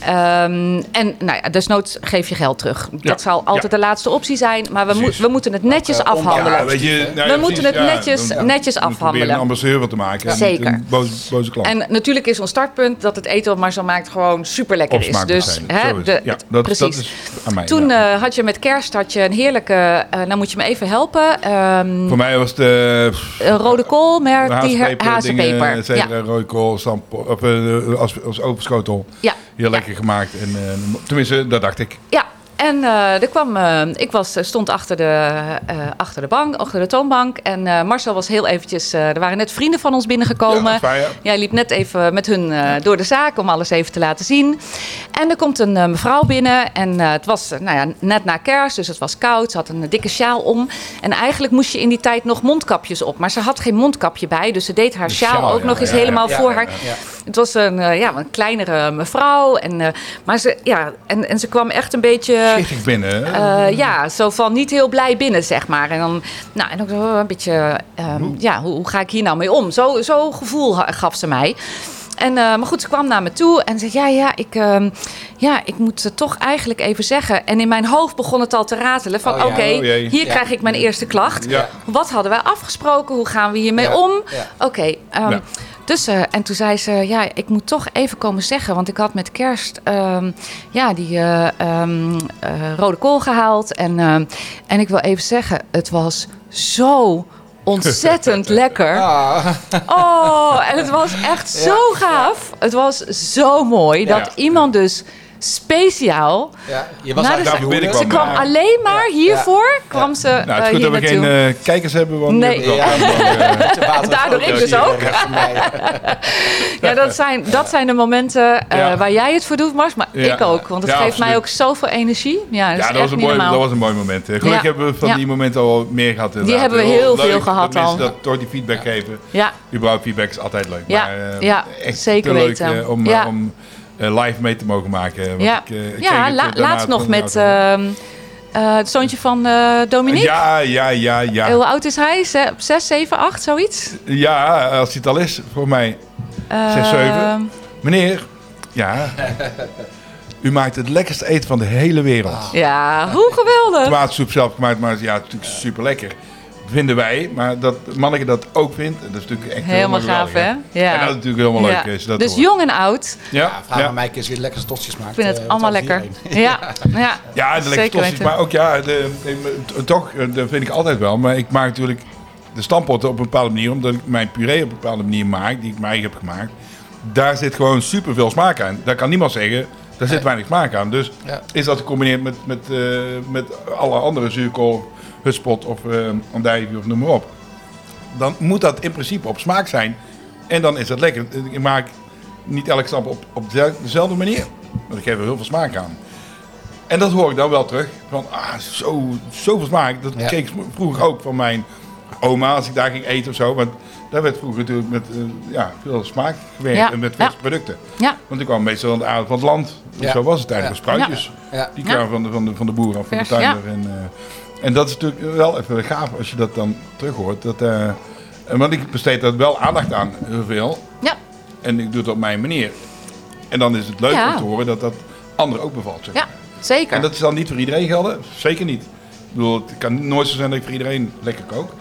[SPEAKER 4] Ehm, en nou ja, desnoods geef je geld terug. Dat zal altijd de laatste optie zijn. Maar we, mo-
[SPEAKER 3] Precies. eh,
[SPEAKER 4] we moeten het netjes afhandelen.
[SPEAKER 3] Ja, weet je, nou ja,
[SPEAKER 4] We moeten het netjes-
[SPEAKER 3] dan-
[SPEAKER 4] netjes
[SPEAKER 3] dan moet je proberen
[SPEAKER 4] afhandelen.
[SPEAKER 3] een ambassadeur van te maken. en
[SPEAKER 4] Zeker.
[SPEAKER 3] niet Een boze, boze klant.
[SPEAKER 4] En natuurlijk is ons startpunt dat het eten wat Marcel maakt gewoon super lekker
[SPEAKER 3] Of
[SPEAKER 4] is.
[SPEAKER 3] smaak moet
[SPEAKER 4] Dus
[SPEAKER 3] zijn.
[SPEAKER 4] hè,
[SPEAKER 3] Zo is
[SPEAKER 4] de-
[SPEAKER 3] het. ja, dat,
[SPEAKER 4] precies.
[SPEAKER 3] dat is aan mij.
[SPEAKER 4] Toen
[SPEAKER 3] ja.
[SPEAKER 4] eh, had je met kerst had je een heerlijke, eh, nou moet je me even helpen, ehm,
[SPEAKER 3] Voor mij was het eh,
[SPEAKER 4] een rode kool
[SPEAKER 3] de
[SPEAKER 4] met die her-
[SPEAKER 3] hazenpeper,
[SPEAKER 4] hazenpeper.
[SPEAKER 3] dingen,
[SPEAKER 4] Ja,
[SPEAKER 3] zeker, rode kool, stampo, of, eh, als, als overschotel.
[SPEAKER 4] ja,
[SPEAKER 3] Heel lekker gemaakt. En, eh, tenminste, dat dacht ik.
[SPEAKER 4] ja. En eh, er kwam, eh, ik was, stond achter de, eh, achter de bank, achter de toonbank. En eh, Marcel was heel eventjes, eh, er waren net vrienden van ons binnengekomen.
[SPEAKER 3] Ja, fijn, ja.
[SPEAKER 4] Jij liep net even met hun eh, door de zaak om alles even te laten zien. En er komt een eh, mevrouw binnen. En eh, het was eh, nou ja, net na kerst, dus het was koud. Ze had een dikke sjaal om. En eigenlijk moest je in die tijd nog mondkapjes op. Maar ze had geen mondkapje bij. Dus ze deed haar sjaal,
[SPEAKER 3] sjaal,
[SPEAKER 4] ook
[SPEAKER 3] ja,
[SPEAKER 4] nog eens
[SPEAKER 3] ja, ja,
[SPEAKER 4] helemaal
[SPEAKER 1] ja,
[SPEAKER 4] voor
[SPEAKER 1] ja,
[SPEAKER 4] haar. Het was een, eh, ja, een kleinere mevrouw. En, eh, maar ze, ja, en, en ze kwam echt een beetje...
[SPEAKER 3] Schichtig binnen. hè?
[SPEAKER 4] Eh, ja, zo van niet heel blij binnen, zeg maar. En dan, nou, en ook zo een beetje, ehm,
[SPEAKER 1] Oh.
[SPEAKER 4] ja, hoe, hoe ga ik hier nou mee om? Zo, zo gevoel ha- gaf ze mij. En, eh, maar goed, ze kwam naar me toe en zei: Ja, ja ik, ehm, ja, ik moet het toch eigenlijk even zeggen. En in mijn hoofd begon het al te ratelen: van
[SPEAKER 1] Oh,
[SPEAKER 4] oké,
[SPEAKER 1] ja.
[SPEAKER 3] Oh, jee.
[SPEAKER 4] hier
[SPEAKER 1] Ja.
[SPEAKER 4] krijg ik mijn eerste klacht.
[SPEAKER 3] Ja.
[SPEAKER 4] Wat hadden wij afgesproken? Hoe gaan we hiermee
[SPEAKER 1] Ja.
[SPEAKER 4] om? Oké,
[SPEAKER 1] Ja.
[SPEAKER 4] ehm,
[SPEAKER 3] Ja.
[SPEAKER 4] dus, eh, en toen zei ze, ja, ik moet toch even komen zeggen, want ik had met kerst ehm, ja, die eh, ehm, eh, rode kool gehaald. En, ehm, en ik wil even zeggen, het was zo ontzettend lekker.
[SPEAKER 1] Ah,
[SPEAKER 4] Oh, en het was echt zo gaaf. Het was zo mooi dat
[SPEAKER 3] Ja.
[SPEAKER 4] iemand dus speciaal...
[SPEAKER 1] ja.
[SPEAKER 6] Je was
[SPEAKER 4] Na
[SPEAKER 6] eigenlijk
[SPEAKER 4] de-
[SPEAKER 6] aan het
[SPEAKER 3] Daarvoor
[SPEAKER 6] hoeden.
[SPEAKER 3] kwam-
[SPEAKER 4] Ze kwam
[SPEAKER 3] Ja.
[SPEAKER 4] alleen maar hiervoor, kwam ze
[SPEAKER 3] nou, het
[SPEAKER 4] eh,
[SPEAKER 3] is goed
[SPEAKER 4] hier
[SPEAKER 3] dat we
[SPEAKER 4] naartoe.
[SPEAKER 3] geen eh, kijkers hebben, want
[SPEAKER 4] Nee.
[SPEAKER 3] nu heb ik wel
[SPEAKER 1] Ja.
[SPEAKER 3] aandacht, eh,
[SPEAKER 1] En
[SPEAKER 4] daardoor
[SPEAKER 1] <laughs>
[SPEAKER 4] ik dus ook. Ja, dat zijn, dat zijn de momenten eh,
[SPEAKER 3] Ja.
[SPEAKER 4] waar jij het voor doet, Mars. Maar
[SPEAKER 3] Ja.
[SPEAKER 4] ik ook, want het
[SPEAKER 3] Ja,
[SPEAKER 4] geeft mij
[SPEAKER 3] absoluut.
[SPEAKER 4] ook zoveel energie. Ja, dat
[SPEAKER 3] Ja,
[SPEAKER 4] is
[SPEAKER 3] dat was,
[SPEAKER 4] echt
[SPEAKER 3] een
[SPEAKER 4] niet
[SPEAKER 3] mooi, dat
[SPEAKER 4] normaal.
[SPEAKER 3] was een mooi moment. hè. Gelukkig
[SPEAKER 4] Ja.
[SPEAKER 3] hebben we van
[SPEAKER 4] Ja.
[SPEAKER 3] die momenten al meer gehad. inderdaad.
[SPEAKER 4] Die hebben we heel veel gehad
[SPEAKER 3] dat
[SPEAKER 4] al.
[SPEAKER 3] mensen dat door die feedback geven.
[SPEAKER 4] Ja,
[SPEAKER 3] Überhaupt feedback is altijd leuk.
[SPEAKER 4] Ja,
[SPEAKER 3] Maar, eh,
[SPEAKER 4] ja,
[SPEAKER 3] echt
[SPEAKER 4] zeker
[SPEAKER 3] te leuk,
[SPEAKER 4] weten.
[SPEAKER 3] eh, om,
[SPEAKER 4] Ja.
[SPEAKER 3] eh, om eh, live mee te mogen maken. Want
[SPEAKER 4] ja.
[SPEAKER 3] ik, eh, ik kreeg
[SPEAKER 4] ja
[SPEAKER 3] het,
[SPEAKER 4] la-
[SPEAKER 3] eh, daarna
[SPEAKER 4] laatst nog
[SPEAKER 3] van-
[SPEAKER 4] met ehm, eh, het zoontje van eh, Dominique.
[SPEAKER 3] Ja, ja, ja, ja.
[SPEAKER 4] Hoe oud is hij? Ze- Zes, zeven, acht, zoiets?
[SPEAKER 3] Ja, als hij het al is, voor mij.
[SPEAKER 4] Eh, Ehm,
[SPEAKER 3] Zes, zeven. Meneer, ja. U maakt het lekkerste eten van de hele wereld.
[SPEAKER 4] Ja, hoe geweldig.
[SPEAKER 3] Tomaatsoep zelf gemaakt, maar ja, het is natuurlijk super lekker. Vinden wij, maar dat manneke dat ook vindt, dat is natuurlijk echt
[SPEAKER 4] Helemaal gaaf,
[SPEAKER 3] geweldig,
[SPEAKER 4] hè? Ja.
[SPEAKER 3] En dat is natuurlijk helemaal leuk.
[SPEAKER 4] Ja.
[SPEAKER 3] Is, dat
[SPEAKER 4] dus
[SPEAKER 3] hoort.
[SPEAKER 4] jong en oud.
[SPEAKER 3] Ja,
[SPEAKER 1] Vraag
[SPEAKER 3] ja.
[SPEAKER 1] aan mij eens wie lekker tostjes maakt.
[SPEAKER 4] Ik vind het
[SPEAKER 1] eh, want
[SPEAKER 4] allemaal
[SPEAKER 1] dat is
[SPEAKER 4] lekker.
[SPEAKER 1] hierheen. <laughs>
[SPEAKER 4] Ja, ja.
[SPEAKER 3] Ja, de lekkere
[SPEAKER 4] Zeker
[SPEAKER 3] tosti's,
[SPEAKER 4] weten.
[SPEAKER 3] maar ook ja, de, de- t- toch, eh, dat vind ik altijd wel. Maar ik maak natuurlijk de stampotten op een bepaalde manier, omdat ik mijn puree op een bepaalde manier maak, die ik mij heb gemaakt. Daar zit gewoon superveel smaak aan. Daar kan niemand zeggen, daar zit weinig smaak aan. Dus
[SPEAKER 1] Ja.
[SPEAKER 3] is dat gecombineerd met, met, eh, met alle andere zuurkool, hutspot of eh andijvie of noem maar op. Dan moet dat in principe op smaak zijn. En dan is dat lekker. Ik maak niet elke stamp op, op dezelfde- dezelfde manier. Want ik geef er heel veel smaak aan. En dat hoor ik dan wel terug. Van, ah, zo, zoveel smaak. Dat
[SPEAKER 1] Ja.
[SPEAKER 3] keek ik vroeger ook van mijn oma als ik daar ging eten of zo. Want daar werd vroeger natuurlijk met eh, ja, veel smaak gewerkt
[SPEAKER 4] Ja,
[SPEAKER 3] en met
[SPEAKER 4] ja.
[SPEAKER 3] veel producten.
[SPEAKER 4] Ja,
[SPEAKER 3] Want ik kwam meestal aan de aard van het land. Dus
[SPEAKER 1] Ja.
[SPEAKER 3] zo was het eigenlijk.
[SPEAKER 1] Ja.
[SPEAKER 3] Spruitjes.
[SPEAKER 1] Ja.
[SPEAKER 3] Die
[SPEAKER 4] Ja.
[SPEAKER 3] kwamen van, de, van, de, van de boer af, van de
[SPEAKER 4] Vers,
[SPEAKER 3] tuinder. En, eh, en dat is natuurlijk wel even gaaf als je dat dan terug hoort. Dat, eh, want ik besteed daar wel aandacht aan, heel veel.
[SPEAKER 4] ja,
[SPEAKER 3] En ik doe het op mijn manier. En dan is het leuk
[SPEAKER 4] Ja.
[SPEAKER 3] om te horen dat dat anderen ook bevalt. Zeg.
[SPEAKER 4] ja, zeker.
[SPEAKER 3] En dat is dan niet voor iedereen gelden? Zeker niet. Ik bedoel, het kan nooit zo zijn dat ik voor iedereen lekker kook.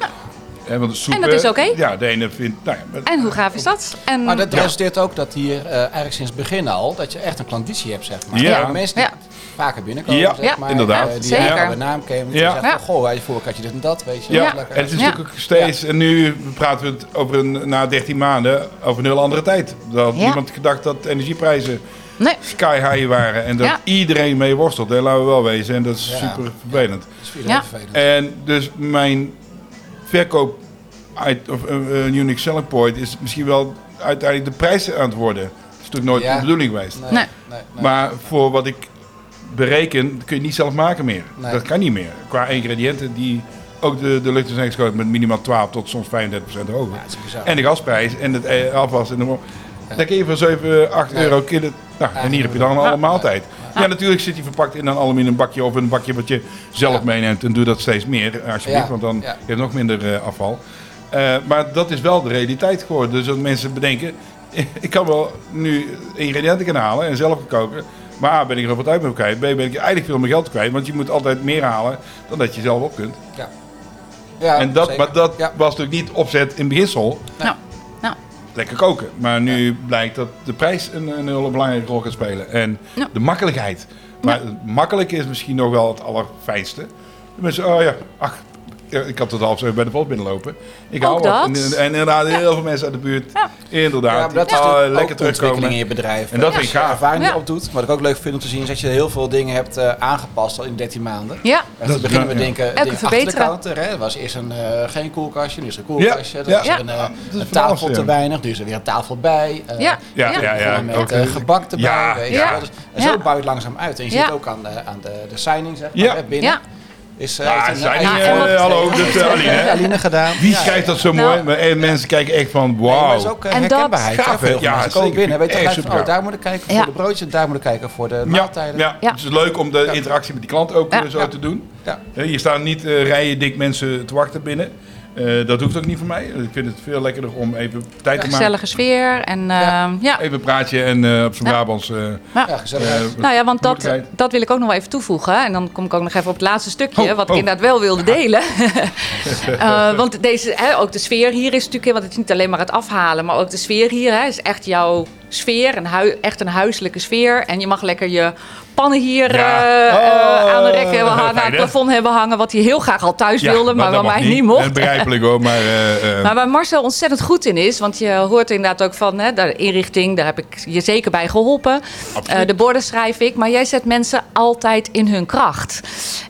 [SPEAKER 3] Eh, want de soep,
[SPEAKER 4] En dat is
[SPEAKER 3] eh,
[SPEAKER 4] oké.
[SPEAKER 3] Ja, de ene vindt... Nou ja, maar-
[SPEAKER 4] En hoe gaaf is dat? En,
[SPEAKER 1] Maar Ah, dat resulteert ook dat hier eh, eigenlijk sinds het begin al, dat je echt een klanditie hebt, zeg maar.
[SPEAKER 3] Ja.
[SPEAKER 1] Dat Mensen die
[SPEAKER 4] Ja.
[SPEAKER 1] vaker binnenkomen,
[SPEAKER 3] Ja,
[SPEAKER 1] zeg maar.
[SPEAKER 3] inderdaad.
[SPEAKER 1] eh, die
[SPEAKER 4] Zeker.
[SPEAKER 1] eigenlijk bij naam kennen. Die
[SPEAKER 3] Ja.
[SPEAKER 1] zeggen van,
[SPEAKER 4] Ja.
[SPEAKER 1] goh, hij vorig had je dit en dat, weet je.
[SPEAKER 3] Ja,
[SPEAKER 1] wat
[SPEAKER 4] Ja.
[SPEAKER 1] lekker.
[SPEAKER 3] en het is
[SPEAKER 4] Ja.
[SPEAKER 3] natuurlijk ook steeds, en nu praten we het over een, na 13 maanden over een heel andere tijd. Dat had
[SPEAKER 4] Ja.
[SPEAKER 3] niemand gedacht dat de energieprijzen
[SPEAKER 4] nee,
[SPEAKER 3] sky high waren en dat
[SPEAKER 4] Ja.
[SPEAKER 3] iedereen mee worstelt. Hè, laten we wel wezen, en dat is
[SPEAKER 1] Ja.
[SPEAKER 3] super vervelend.
[SPEAKER 1] Dat is voor iedereen
[SPEAKER 4] Ja.
[SPEAKER 1] vervelend.
[SPEAKER 3] En dus mijn verkoop uit, of eh, eh, unique selling point is misschien wel uiteindelijk de prijs aan het worden. Dat is natuurlijk nooit
[SPEAKER 1] Ja.
[SPEAKER 3] de bedoeling geweest.
[SPEAKER 1] Nee,
[SPEAKER 4] Nee.
[SPEAKER 1] nee, nee.
[SPEAKER 3] Maar voor wat ik bereken, kun je niet zelf maken meer.
[SPEAKER 1] Nee.
[SPEAKER 3] Dat kan niet meer. Qua ingrediënten die ook de, de lucht in zijn geschoten met minimaal 12 tot soms 35% hoger.
[SPEAKER 1] dat is bizar.
[SPEAKER 3] en de gasprijs en het eh, afwas en de mo- Dan kun je voor 7, 8 euro killen. Nou, en hier heb je dan een alle maaltijd. Ja. natuurlijk zit die verpakt in een aluminium bakje of in een bakje wat je zelf meeneemt. En doe dat steeds meer, alsjeblieft,
[SPEAKER 1] Ja.
[SPEAKER 3] want dan
[SPEAKER 1] Ja.
[SPEAKER 3] heb je nog minder eh, afval. Eh, maar dat is wel de realiteit geworden. Dus dat mensen bedenken, <laughs> ik kan wel nu ingrediënten gaan halen en zelf gaan koken. Maar A, ben ik er wat uit mee kwijt. B, ben ik eigenlijk veel meer geld kwijt. Want je moet altijd meer halen dan dat je zelf op kunt.
[SPEAKER 1] Ja. Ja,
[SPEAKER 3] en dat,
[SPEAKER 1] zeker.
[SPEAKER 3] maar dat
[SPEAKER 1] Ja.
[SPEAKER 3] was natuurlijk niet opzet in beginsel.
[SPEAKER 4] nou, nou,
[SPEAKER 3] Lekker koken. Maar nu blijkt dat de prijs een, een hele belangrijke rol gaat spelen. En
[SPEAKER 4] Ja.
[SPEAKER 3] de makkelijkheid. Maar het makkelijke is misschien nog wel het allerfijnste. De mensen, oh ja, ach, ja, ik had het half zo bij de bos binnenlopen. Ik
[SPEAKER 4] Ook
[SPEAKER 3] hou wat. En,
[SPEAKER 4] dat.
[SPEAKER 3] en inderdaad, heel veel mensen uit de buurt. Inderdaad.
[SPEAKER 1] Ja, maar dat
[SPEAKER 3] die,
[SPEAKER 1] is
[SPEAKER 3] oh,
[SPEAKER 1] natuurlijk
[SPEAKER 3] lekker
[SPEAKER 1] ook de ontwikkeling in
[SPEAKER 3] terugkomen.
[SPEAKER 1] je bedrijf.
[SPEAKER 3] En dat
[SPEAKER 1] Ja.
[SPEAKER 3] vind ik gaaf.
[SPEAKER 1] Als je ervaring
[SPEAKER 4] Ja.
[SPEAKER 1] die opdoet. Wat ik ook leuk vind om te zien, is dat je heel veel dingen hebt eh, aangepast al in 13 maanden.
[SPEAKER 4] ja,
[SPEAKER 1] En dat beginnen we
[SPEAKER 3] ja.
[SPEAKER 1] denken
[SPEAKER 4] Elke
[SPEAKER 1] dingen achter de
[SPEAKER 4] verbeteren.
[SPEAKER 1] counter. Hè. Er was eerst een, eh, geen koelkastje, nu is er een koelkastje.
[SPEAKER 3] Ja,
[SPEAKER 1] Er was
[SPEAKER 4] ja.
[SPEAKER 1] een, eh,
[SPEAKER 3] Ja, Ah, dat is
[SPEAKER 1] een
[SPEAKER 3] van
[SPEAKER 1] tafel
[SPEAKER 3] alles,
[SPEAKER 1] te
[SPEAKER 3] ja.
[SPEAKER 1] weinig, nu is er weer een tafel bij. eh,
[SPEAKER 4] ja,
[SPEAKER 3] Ja, ja, ja.
[SPEAKER 1] begonnen Met
[SPEAKER 3] ook,
[SPEAKER 1] eh,
[SPEAKER 3] eh,
[SPEAKER 1] gebak erbij.
[SPEAKER 3] ja.
[SPEAKER 1] weet je
[SPEAKER 4] Ja.
[SPEAKER 1] wel. Dus- en zo
[SPEAKER 4] Ja.
[SPEAKER 1] bouwt het langzaam uit. En je
[SPEAKER 4] Ja.
[SPEAKER 1] ziet ook aan de, aan de, de signing, zeg maar,
[SPEAKER 3] Ja.
[SPEAKER 1] hè, binnen.
[SPEAKER 4] Ja.
[SPEAKER 1] Is, eh,
[SPEAKER 3] Ja,
[SPEAKER 1] heeft een-
[SPEAKER 3] zijn
[SPEAKER 1] heeft
[SPEAKER 4] Ja,
[SPEAKER 3] niet,
[SPEAKER 4] en
[SPEAKER 3] eh,
[SPEAKER 4] wat-
[SPEAKER 3] hallo, dat is Aline.
[SPEAKER 1] <laughs>
[SPEAKER 3] hè?
[SPEAKER 1] Aline gedaan.
[SPEAKER 3] Wie schrijft dat zo
[SPEAKER 4] Nou.
[SPEAKER 3] mooi? Maar, eh, mensen kijken echt van,
[SPEAKER 1] Maar
[SPEAKER 3] wauw.
[SPEAKER 1] het is ook eh,
[SPEAKER 4] En dat-
[SPEAKER 1] herkenbaarheid.
[SPEAKER 3] Gaaf,
[SPEAKER 1] hè,
[SPEAKER 3] hè?
[SPEAKER 1] veel
[SPEAKER 3] Ja,
[SPEAKER 1] mensen komen
[SPEAKER 3] zeker.
[SPEAKER 1] binnen. Weet je
[SPEAKER 3] Echt
[SPEAKER 1] gelijk van,
[SPEAKER 3] supergaaf.
[SPEAKER 1] oh, daar moet ik kijken voor
[SPEAKER 4] Ja.
[SPEAKER 1] de broodjes en daar moet ik kijken voor de
[SPEAKER 3] Ja,
[SPEAKER 1] maaltijden.
[SPEAKER 3] ja. Dus
[SPEAKER 4] Ja.
[SPEAKER 3] het is leuk om de
[SPEAKER 1] Ja.
[SPEAKER 3] interactie met die klant ook
[SPEAKER 4] Ja.
[SPEAKER 3] eh, zo
[SPEAKER 1] Ja.
[SPEAKER 3] te doen.
[SPEAKER 1] Ja.
[SPEAKER 3] Hè, Hier staan niet eh, rijen dik mensen te wachten binnen. Eh, dat hoeft ook niet voor mij. Ik vind het veel lekkerder om even tijd te maken.
[SPEAKER 4] gezellige sfeer. En, eh, ja.
[SPEAKER 3] Even praatje en eh, op zijn Brabants. eh,
[SPEAKER 1] Ja, gezellig.
[SPEAKER 3] eh,
[SPEAKER 4] Nou ja, want dat,
[SPEAKER 3] moeilijkheid.
[SPEAKER 4] dat wil ik ook nog wel even toevoegen. En dan kom ik ook nog even op het laatste stukje,
[SPEAKER 3] Oh,
[SPEAKER 4] wat
[SPEAKER 3] oh.
[SPEAKER 4] ik inderdaad wel wilde
[SPEAKER 3] <laughs>
[SPEAKER 4] delen. Eh, want deze, hè, ook de sfeer hier is natuurlijk, hè, want het is niet alleen maar het afhalen, maar ook de sfeer hier hè, is echt jouw sfeer, een hui- echt een huiselijke sfeer. En je mag lekker je pannen hier
[SPEAKER 3] Ja.
[SPEAKER 4] eh, eh,
[SPEAKER 3] Oh,
[SPEAKER 4] aan de rek hebben hangen,
[SPEAKER 3] fijn,
[SPEAKER 4] aan het
[SPEAKER 3] hè?
[SPEAKER 4] plafond hebben hangen, wat hij heel graag al thuis
[SPEAKER 3] ja,
[SPEAKER 4] wilde,
[SPEAKER 3] dat-
[SPEAKER 4] maar
[SPEAKER 3] dat
[SPEAKER 4] waar
[SPEAKER 3] mag
[SPEAKER 4] mij niet mocht.
[SPEAKER 3] Eh, Begrijpelijk hoor, maar... eh, eh,
[SPEAKER 4] Maar waar Marcel ontzettend goed in is, want je hoort inderdaad ook van hè, de inrichting, daar heb ik je zeker bij geholpen.
[SPEAKER 3] Absoluut.
[SPEAKER 4] Eh, de borden schrijf ik, maar jij zet mensen altijd in hun kracht.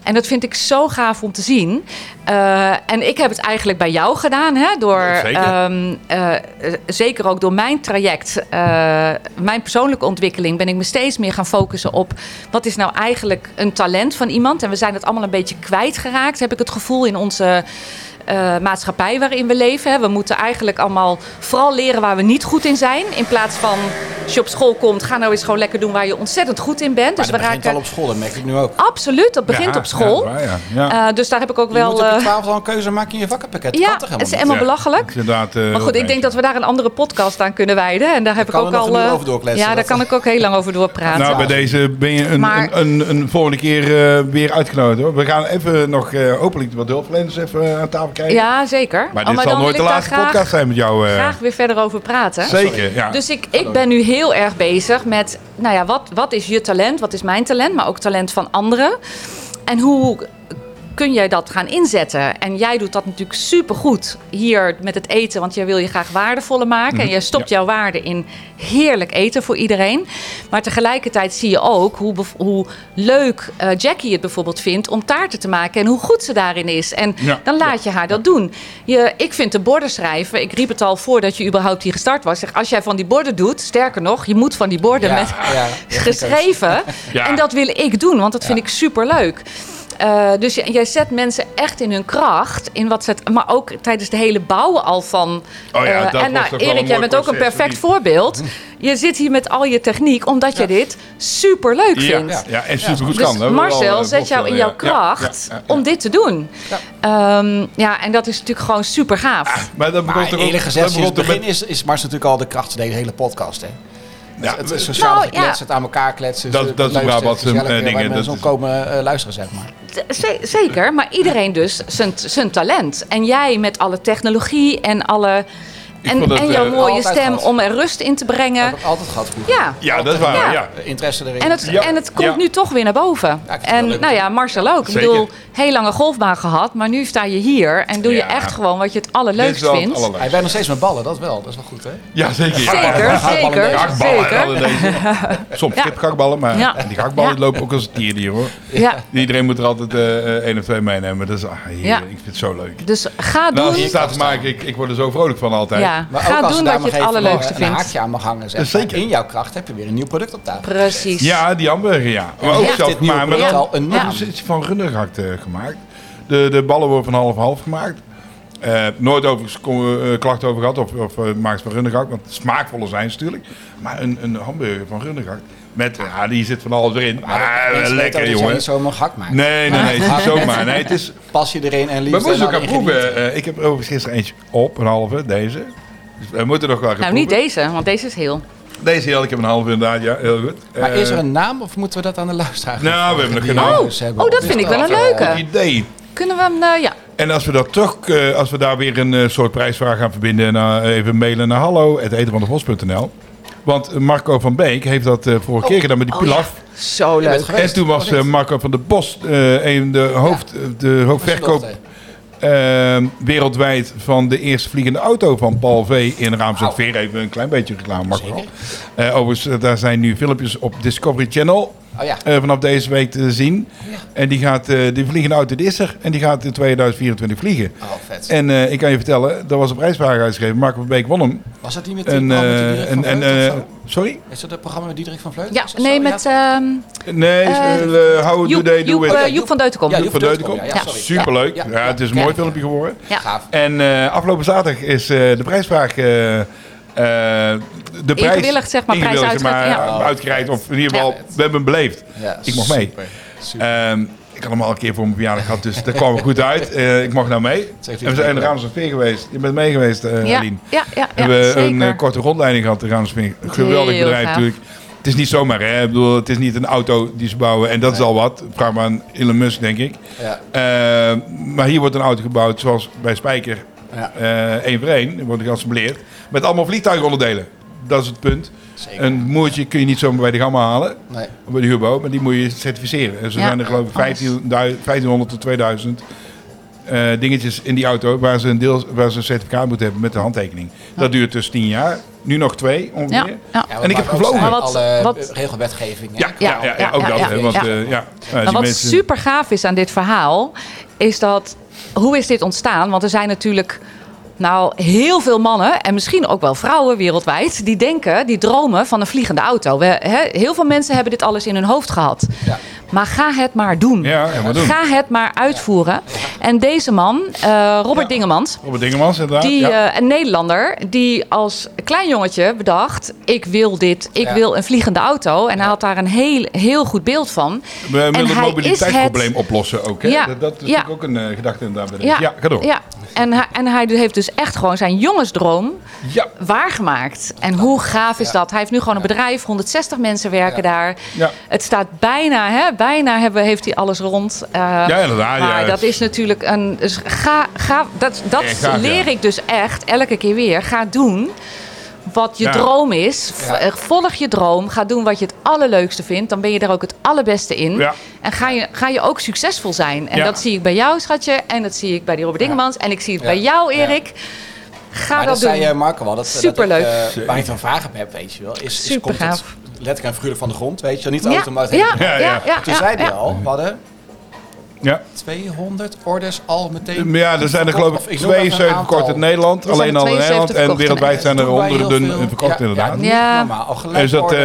[SPEAKER 4] En dat vind ik zo gaaf om te zien. Eh, en ik heb het eigenlijk bij jou gedaan, hè, door,
[SPEAKER 3] Ja, zeker.
[SPEAKER 4] ehm, eh, eh, zeker ook door mijn traject, eh, mijn persoonlijke ontwikkeling, ben ik me steeds meer gaan focussen op wat is nou eigenlijk een talent van iemand. En we zijn het allemaal een beetje kwijtgeraakt, heb ik het gevoel, in onze eh, maatschappij waarin we leven. Hè. We moeten eigenlijk allemaal vooral leren waar we niet goed in zijn. In plaats van als je op school komt, ga nou eens gewoon lekker doen waar je ontzettend goed in bent.
[SPEAKER 1] Maar
[SPEAKER 4] Dus
[SPEAKER 1] dat
[SPEAKER 4] we
[SPEAKER 1] begint
[SPEAKER 4] raken.
[SPEAKER 1] al op school, dat merk ik nu ook.
[SPEAKER 4] Absoluut, dat begint
[SPEAKER 3] ja,
[SPEAKER 4] op school.
[SPEAKER 3] Ja, dat is waar, ja. Ja.
[SPEAKER 4] Eh, dus daar heb ik ook
[SPEAKER 1] je moet
[SPEAKER 4] wel.
[SPEAKER 1] op je
[SPEAKER 4] eh,
[SPEAKER 1] twaalfde al een keuze maken in je vakkenpakket. Dat
[SPEAKER 4] ja,
[SPEAKER 1] kan toch
[SPEAKER 4] het is
[SPEAKER 1] helemaal niet?
[SPEAKER 4] helemaal
[SPEAKER 3] Ja,
[SPEAKER 4] belachelijk.
[SPEAKER 3] het is inderdaad, eh,
[SPEAKER 4] Maar goed, ik denk dat we daar een andere podcast aan kunnen wijden. En daar heb ik
[SPEAKER 1] kan
[SPEAKER 4] ook
[SPEAKER 1] er nog
[SPEAKER 4] al.
[SPEAKER 1] een uur
[SPEAKER 4] eh,
[SPEAKER 1] over doorkletsen,
[SPEAKER 4] ja, daar
[SPEAKER 1] dat-
[SPEAKER 4] kan ik ook heel lang over doorpraten.
[SPEAKER 3] nou, bij deze ben je een,
[SPEAKER 4] Maar-
[SPEAKER 3] een, een, een volgende keer eh, weer uitgenodigd hoor. We gaan even nog eh, hopelijk wat hulpverleners even eh, aan tafel kijken.
[SPEAKER 4] <laughs> ja, zeker.
[SPEAKER 3] Maar
[SPEAKER 4] Oh,
[SPEAKER 3] dit zal
[SPEAKER 4] dan
[SPEAKER 3] nooit de
[SPEAKER 4] wil ik daar
[SPEAKER 3] laatste
[SPEAKER 4] graag-
[SPEAKER 3] podcast zijn met jou. eh.
[SPEAKER 4] Graag weer verder over praten.
[SPEAKER 3] Zeker, ja.
[SPEAKER 4] Dus ik, ik ben nu heel erg bezig met, nou ja, wat, wat is je talent, wat is mijn talent, maar ook talent van anderen. En hoe kun jij dat gaan inzetten? En jij doet dat natuurlijk supergoed hier met het eten, want jij wil je graag waardevoller maken.
[SPEAKER 3] Mhm.
[SPEAKER 4] En jij stopt jouw waarde in heerlijk eten voor iedereen. Maar tegelijkertijd zie je ook hoe, bev- hoe leuk eh, Jackie het bijvoorbeeld vindt om taarten te maken en hoe goed ze daarin is. En
[SPEAKER 3] Ja.
[SPEAKER 4] dan laat je haar dat doen. Je, ik vind de borden schrijven, ik riep het al voordat je überhaupt hier gestart was. Zeg, als jij van die borden doet, sterker nog, je moet van die borden
[SPEAKER 1] Ja,
[SPEAKER 4] met
[SPEAKER 1] ja, je hebt een keuze.
[SPEAKER 4] geschreven.
[SPEAKER 3] <laughs> Ja.
[SPEAKER 4] En dat wil ik doen, want dat vind
[SPEAKER 1] Ja.
[SPEAKER 4] ik superleuk. Eh, dus je- jij zet mensen echt in hun kracht. In wat ze het, maar ook tijdens de hele bouwen al van.
[SPEAKER 3] Oh ja,
[SPEAKER 4] eh,
[SPEAKER 3] dat
[SPEAKER 4] en
[SPEAKER 3] was
[SPEAKER 4] nou,
[SPEAKER 3] toch wel een
[SPEAKER 4] Erik, jij
[SPEAKER 3] mooi
[SPEAKER 4] bent ook een
[SPEAKER 3] proces,
[SPEAKER 4] perfect
[SPEAKER 3] of niet? <laughs>
[SPEAKER 4] voorbeeld. Je zit hier met al je techniek, omdat je dit super leuk
[SPEAKER 3] Ja,
[SPEAKER 4] vindt.
[SPEAKER 3] ja, ja, en supergoed
[SPEAKER 4] Dus
[SPEAKER 3] kan. hè. We hebben wel,
[SPEAKER 4] Marcel,
[SPEAKER 3] eh,
[SPEAKER 4] zet jou in
[SPEAKER 3] voorstellen,
[SPEAKER 4] jouw
[SPEAKER 3] ja. Ja, ja,
[SPEAKER 4] kracht
[SPEAKER 3] ja, ja.
[SPEAKER 4] om dit te doen. Ja, ja en dat is natuurlijk gewoon super gaaf.
[SPEAKER 3] Maar dat begon
[SPEAKER 1] Maar
[SPEAKER 3] toch ook-
[SPEAKER 1] eerlijk
[SPEAKER 3] dat
[SPEAKER 1] gezegd, sinds
[SPEAKER 3] begon
[SPEAKER 1] het
[SPEAKER 3] toch
[SPEAKER 1] begin
[SPEAKER 3] met-
[SPEAKER 1] is, is Mars natuurlijk al de kracht van deze hele podcast. Hè?
[SPEAKER 3] Ja,
[SPEAKER 1] Het
[SPEAKER 3] we-
[SPEAKER 1] is sociaal
[SPEAKER 4] Nou,
[SPEAKER 1] gekletst,
[SPEAKER 4] ja.
[SPEAKER 1] het aan elkaar kletsen.
[SPEAKER 3] Dat-
[SPEAKER 1] het
[SPEAKER 3] dat is
[SPEAKER 1] leukste,
[SPEAKER 3] Brabantse,
[SPEAKER 1] gezellig,
[SPEAKER 3] eh,
[SPEAKER 1] eh, waar
[SPEAKER 3] dingen,
[SPEAKER 1] mensen
[SPEAKER 3] dat
[SPEAKER 1] om
[SPEAKER 3] is-
[SPEAKER 1] komen eh, luisteren, zeg maar.
[SPEAKER 4] Z- zeker, maar iedereen dus zijn- zijn talent. En jij met alle technologie en alle. En,
[SPEAKER 3] vond dat,
[SPEAKER 4] en jouw
[SPEAKER 3] eh,
[SPEAKER 4] mooie
[SPEAKER 1] altijd
[SPEAKER 4] stem
[SPEAKER 1] wat.
[SPEAKER 4] om er rust in te
[SPEAKER 1] Dat
[SPEAKER 4] brengen.
[SPEAKER 1] heb ik altijd gehad vroeger.
[SPEAKER 4] Ja.
[SPEAKER 3] Ja, dat is waar.
[SPEAKER 4] Ja.
[SPEAKER 3] ja.
[SPEAKER 1] Eh, Interesse erin.
[SPEAKER 4] En het,
[SPEAKER 3] Ja.
[SPEAKER 4] en het komt
[SPEAKER 3] Ja.
[SPEAKER 4] nu toch weer naar boven.
[SPEAKER 1] Ja, ik vind het
[SPEAKER 4] en
[SPEAKER 1] wel leuk.
[SPEAKER 4] nou ja, Marcel ook.
[SPEAKER 3] Zeker.
[SPEAKER 4] Ik bedoel, heel lange golfbaan gehad, maar nu sta je hier en doe je
[SPEAKER 3] Ja.
[SPEAKER 4] echt gewoon wat je het
[SPEAKER 3] Dit is
[SPEAKER 4] allerleukst
[SPEAKER 3] wel het
[SPEAKER 4] vindt.
[SPEAKER 3] allerleukste.
[SPEAKER 1] Hij werkt nog steeds met ballen, dat wel. Dat is wel goed, hè?
[SPEAKER 3] Ja, zeker.
[SPEAKER 4] Zeker, zeker,
[SPEAKER 3] Ja, gakballen,
[SPEAKER 4] zeker.
[SPEAKER 3] hè, deze.
[SPEAKER 4] <laughs>
[SPEAKER 3] Soms
[SPEAKER 4] Ja.
[SPEAKER 3] kipgakballen, maar
[SPEAKER 4] Ja.
[SPEAKER 3] die gakballen
[SPEAKER 4] Ja.
[SPEAKER 3] lopen ook als een tierdier hoor.
[SPEAKER 4] Ja,
[SPEAKER 3] Iedereen moet er altijd eh, eh, één of twee meenemen. Dat is, ah, heerlijk.
[SPEAKER 4] Ja.
[SPEAKER 3] Ik vind het zo leuk.
[SPEAKER 4] dus ga
[SPEAKER 3] Nou, als
[SPEAKER 4] doen.
[SPEAKER 3] het staat te maken, ik, ik word er zo vrolijk van altijd.
[SPEAKER 4] Ja,
[SPEAKER 1] Maar
[SPEAKER 4] ga
[SPEAKER 1] ook als
[SPEAKER 4] doen
[SPEAKER 1] daar maar
[SPEAKER 4] wat je het
[SPEAKER 1] even
[SPEAKER 4] allerleukste
[SPEAKER 1] eh, een, een
[SPEAKER 4] vindt.
[SPEAKER 1] haakje aan mag hangen. Zeg.
[SPEAKER 3] Ja,
[SPEAKER 1] maar.
[SPEAKER 3] zeker.
[SPEAKER 1] In jouw kracht heb je weer een nieuw product op tafel.
[SPEAKER 4] Precies.
[SPEAKER 3] Ja, die hamburger, ja. Maar ook
[SPEAKER 1] heeft
[SPEAKER 3] zelf
[SPEAKER 1] dit nieuwe
[SPEAKER 3] maar, maar
[SPEAKER 1] product
[SPEAKER 3] dan
[SPEAKER 1] al een
[SPEAKER 3] nog
[SPEAKER 4] naam?
[SPEAKER 3] eens iets van rundergehakt eh, gemaakt. De, de ballen worden van half-half gemaakt. Eh, nooit overigens kon- eh, klachten over gehad of, of eh, maakt van rundergehakt, want smaakvoller zijn ze natuurlijk. Maar een, een hamburger van rundergehakt met, ja, die zit van alles erin. Maar
[SPEAKER 1] Mensen weten
[SPEAKER 3] Ah, lekker
[SPEAKER 1] Ah, dat je
[SPEAKER 3] jongen.
[SPEAKER 1] niet zomaar een gehakt maakt.
[SPEAKER 3] Nee, nee, nee, het is niet
[SPEAKER 1] Maar-
[SPEAKER 3] zomaar. Nee, het is,
[SPEAKER 1] Pas je erin en
[SPEAKER 3] we
[SPEAKER 1] liefst.
[SPEAKER 3] moesten
[SPEAKER 1] en
[SPEAKER 3] ook
[SPEAKER 1] alle
[SPEAKER 3] aan
[SPEAKER 1] ingrediënten.
[SPEAKER 3] proeven. Eh, ik heb overigens gisteren eentje op, een halve, deze. Dus we moeten nog wel gaan
[SPEAKER 4] Nou,
[SPEAKER 3] proeven.
[SPEAKER 4] niet deze, want deze is heel.
[SPEAKER 3] Deze had ik heb een halve inderdaad, ja, heel goed.
[SPEAKER 1] Maar is er
[SPEAKER 3] Eh,
[SPEAKER 1] een naam of moeten we dat aan de luisteraar
[SPEAKER 3] Nou,
[SPEAKER 1] geven?
[SPEAKER 3] we hebben nog
[SPEAKER 1] Die
[SPEAKER 3] geen naam.
[SPEAKER 1] jongens hebben
[SPEAKER 4] oh, dat
[SPEAKER 1] op
[SPEAKER 4] vind ik
[SPEAKER 1] dit
[SPEAKER 4] wel een
[SPEAKER 1] moment.
[SPEAKER 4] leuke.
[SPEAKER 3] idee?
[SPEAKER 4] Kunnen we hem, eh, ja.
[SPEAKER 3] En als we dat toch, eh, als we daar weer een eh, soort prijsvraag aan verbinden, nou, even mailen naar hallo etenvandevos.nl. Want eh, Marco van Beek heeft dat eh, vorige keer gedaan met die pilaf.
[SPEAKER 4] Zo
[SPEAKER 1] Je bent
[SPEAKER 4] leuk.
[SPEAKER 1] geweest.
[SPEAKER 3] En toen was
[SPEAKER 1] Wat
[SPEAKER 3] eh,
[SPEAKER 1] is-
[SPEAKER 3] Marco van de Bos eh, een de, hoofd, de hoofdverkoop
[SPEAKER 1] Verkocht,
[SPEAKER 3] eh, wereldwijd van de eerste vliegende auto van Paul V. in Raamsdijk-Veer. Even een klein beetje reclame, Marco. Eh overigens, eh, daar zijn nu filmpjes op Discovery Channel.
[SPEAKER 1] Oh ja.
[SPEAKER 3] eh, vanaf deze week te zien. En die, gaat, eh, die vliegende auto die is er. En die gaat in 2024 vliegen.
[SPEAKER 1] Oh, vet.
[SPEAKER 3] En eh, ik kan je vertellen, er was een prijsvraag uitgeschreven. Marco van Beek won hem.
[SPEAKER 1] Was dat die met die,
[SPEAKER 3] En,
[SPEAKER 1] oh, met die
[SPEAKER 3] eh,
[SPEAKER 1] Diederik
[SPEAKER 3] en,
[SPEAKER 1] van
[SPEAKER 3] en,
[SPEAKER 1] Vleuten of
[SPEAKER 3] eh,
[SPEAKER 1] zo?
[SPEAKER 3] sorry?
[SPEAKER 1] Is dat het programma met Diederik van Vleuten?
[SPEAKER 4] Ja,
[SPEAKER 1] Is dat
[SPEAKER 4] nee,
[SPEAKER 1] zo?
[SPEAKER 4] met
[SPEAKER 1] Ja.
[SPEAKER 4] ehm
[SPEAKER 3] Nee,
[SPEAKER 4] Eh,
[SPEAKER 3] eh, how
[SPEAKER 4] Joep,
[SPEAKER 3] do they do
[SPEAKER 4] Joep,
[SPEAKER 3] it?
[SPEAKER 4] eh, Joep van Deutenkom.
[SPEAKER 1] Ja,
[SPEAKER 3] Joep van Deutenkom.
[SPEAKER 1] Ja, sorry.
[SPEAKER 3] Superleuk.
[SPEAKER 1] Ja,
[SPEAKER 3] Ja,
[SPEAKER 1] ja,
[SPEAKER 3] het is een
[SPEAKER 1] ja.
[SPEAKER 3] mooi filmpje geworden.
[SPEAKER 4] Ja.
[SPEAKER 1] Gaaf.
[SPEAKER 3] En eh, afgelopen zaterdag is eh, de prijsvraag. eh, eh, de prijs,
[SPEAKER 4] Ingewilligd, zeg maar, prijs
[SPEAKER 3] ingewilligd, zeg maar,
[SPEAKER 4] uitgereikt,
[SPEAKER 1] ja.
[SPEAKER 3] uitgereikt. Of in ieder geval,
[SPEAKER 4] Ja.
[SPEAKER 3] we hebben hem beleefd.
[SPEAKER 1] Ja,
[SPEAKER 3] ik mocht mee.
[SPEAKER 1] super, super.
[SPEAKER 3] Ehm, ik had hem al een keer voor mijn verjaardag gehad, dus daar kwam we goed uit. Eh, ik mag nou mee.
[SPEAKER 1] heeft u
[SPEAKER 3] En we zijn in de
[SPEAKER 1] gedaan.
[SPEAKER 3] Raamsveer geweest. Je bent mee geweest, eh
[SPEAKER 4] Ja,
[SPEAKER 3] Aline.
[SPEAKER 4] ja, ja,
[SPEAKER 3] We
[SPEAKER 4] ja,
[SPEAKER 3] hebben
[SPEAKER 4] zeker.
[SPEAKER 3] een eh, korte rondleiding gehad in Raamsveer. Geweldig
[SPEAKER 4] Heel
[SPEAKER 3] bedrijf
[SPEAKER 4] gaaf.
[SPEAKER 3] natuurlijk. Het is niet zomaar, hè? Ik bedoel, het is niet een auto die ze bouwen. En dat is al wat. Vraag maar aan Elon Musk, denk ik.
[SPEAKER 1] Ja.
[SPEAKER 3] Eh, maar hier wordt een auto gebouwd zoals bij Spijker.
[SPEAKER 1] Ja.
[SPEAKER 3] eh, één voor één wordt geassembleerd. Met allemaal vliegtuigonderdelen. Dat is het punt.
[SPEAKER 1] Zeker.
[SPEAKER 3] Een moertje kun je niet zomaar bij de gamma halen.
[SPEAKER 1] Nee.
[SPEAKER 3] Bij de huurbouw. Maar die moet je certificeren. En zo
[SPEAKER 4] Ja,
[SPEAKER 3] zijn er geloof ik
[SPEAKER 4] alles.
[SPEAKER 3] 15 du- 1500 tot 2000 eh, dingetjes in die auto. Waar ze, een deel, waar ze een certificaat moeten hebben met de handtekening. Dat duurt dus 10 jaar. Nu nog twee
[SPEAKER 4] Ja,
[SPEAKER 3] ongeveer.
[SPEAKER 4] ja.
[SPEAKER 1] Ja,
[SPEAKER 3] En ik heb
[SPEAKER 1] maar ook
[SPEAKER 3] gevlogen.
[SPEAKER 1] zijn
[SPEAKER 4] Maar wat-
[SPEAKER 1] alle
[SPEAKER 4] wat-
[SPEAKER 1] regelwetgeving.
[SPEAKER 3] Ja,
[SPEAKER 1] hè?
[SPEAKER 3] ja, ja, ja,
[SPEAKER 4] ja,
[SPEAKER 3] ook
[SPEAKER 4] ja,
[SPEAKER 3] dat.
[SPEAKER 4] ja.
[SPEAKER 3] hè, want,
[SPEAKER 4] Ja.
[SPEAKER 3] eh, ja, eh, die
[SPEAKER 4] Maar Nou, wat
[SPEAKER 3] mensen-
[SPEAKER 4] super gaaf is aan dit verhaal, is dat hoe is dit ontstaan? Want er zijn natuurlijk nou, heel veel mannen en misschien ook wel vrouwen wereldwijd die denken, die dromen van een vliegende auto. We, hè, heel veel mensen hebben dit alles in hun hoofd gehad.
[SPEAKER 1] Ja.
[SPEAKER 4] Maar ga het maar doen.
[SPEAKER 3] Ja, ja, maar doen.
[SPEAKER 4] Ga het maar uitvoeren. En deze man, eh, Robert Dingemans,
[SPEAKER 3] Robert Dingemans inderdaad.
[SPEAKER 4] die,
[SPEAKER 3] Ah, ja.
[SPEAKER 4] eh, een Nederlander die als klein jongetje bedacht: ik wil dit, ik
[SPEAKER 1] Ja.
[SPEAKER 4] wil een vliegende auto. En hij had daar een heel, heel goed beeld van.
[SPEAKER 3] We
[SPEAKER 4] en
[SPEAKER 3] willen het
[SPEAKER 4] hij
[SPEAKER 3] mobiliteitsprobleem oplossen ook. Hè?
[SPEAKER 4] Ja,
[SPEAKER 3] Dat, dat is
[SPEAKER 4] ja.
[SPEAKER 3] natuurlijk ook een eh, gedachte inderdaad. bij de-
[SPEAKER 4] Ja,
[SPEAKER 3] ja, ga door.
[SPEAKER 4] Ja. En, hij, en hij heeft dus echt gewoon zijn jongensdroom
[SPEAKER 3] Ja.
[SPEAKER 4] waargemaakt. En hoe gaaf is dat? Hij heeft nu gewoon een bedrijf, 160 mensen werken daar.
[SPEAKER 3] Ja.
[SPEAKER 4] Het staat bijna, hè, bijna hebben, heeft hij alles rond. Eh,
[SPEAKER 3] Ja, inderdaad,
[SPEAKER 4] Maar
[SPEAKER 3] Ah, ja.
[SPEAKER 4] dat is natuurlijk een. Dus ga, ga, dat dat
[SPEAKER 3] Echt gaaf,
[SPEAKER 4] leer
[SPEAKER 3] ja.
[SPEAKER 4] ik dus echt elke keer weer. Ga doen. Wat je
[SPEAKER 3] Ja.
[SPEAKER 4] droom is, V- eh, volg je droom. Ga doen wat je het allerleukste vindt. Dan ben je er ook het allerbeste in.
[SPEAKER 3] Ja.
[SPEAKER 4] En ga je, ga je ook succesvol zijn. En
[SPEAKER 3] Ja.
[SPEAKER 4] dat zie ik bij jou, schatje. En dat zie ik bij die Robert Dingemans. En ik zie het bij jou, Erik. Ga
[SPEAKER 1] Maar
[SPEAKER 4] dat
[SPEAKER 1] dat
[SPEAKER 4] doen.
[SPEAKER 1] zei eh, Marco al. Dat, dat
[SPEAKER 4] Superleuk.
[SPEAKER 1] ik, eh, waar ik een vraag op heb, weet je wel. Is, is
[SPEAKER 4] Super
[SPEAKER 1] komt het
[SPEAKER 4] gaaf.
[SPEAKER 1] letterlijk en figuurlijk van de grond, weet je wel. Niet
[SPEAKER 4] ja.
[SPEAKER 1] automatisch.
[SPEAKER 4] Ja, ja,
[SPEAKER 3] Ja,
[SPEAKER 4] ja,
[SPEAKER 3] ja.
[SPEAKER 4] ja,
[SPEAKER 1] Toen zei hij
[SPEAKER 4] ja.
[SPEAKER 1] al, we hadden
[SPEAKER 3] Ja.
[SPEAKER 5] 200 orders al meteen.
[SPEAKER 3] Ja, er zijn er geloof
[SPEAKER 5] Of
[SPEAKER 3] ik
[SPEAKER 5] ik noem even een
[SPEAKER 3] 72
[SPEAKER 5] aantal.
[SPEAKER 3] verkocht in Nederland.
[SPEAKER 4] Er
[SPEAKER 3] Alleen
[SPEAKER 4] zijn
[SPEAKER 3] al in
[SPEAKER 4] 72
[SPEAKER 3] Nederland. En
[SPEAKER 4] verkocht in
[SPEAKER 3] wereldwijd zijn er
[SPEAKER 1] Doen wij
[SPEAKER 3] honderden
[SPEAKER 1] heel veel-
[SPEAKER 3] verkocht
[SPEAKER 1] Ja,
[SPEAKER 3] inderdaad.
[SPEAKER 1] Ja,
[SPEAKER 4] niet
[SPEAKER 1] ja.
[SPEAKER 4] Ja.
[SPEAKER 1] normaal. Al gelijk
[SPEAKER 3] Dus dat, eh,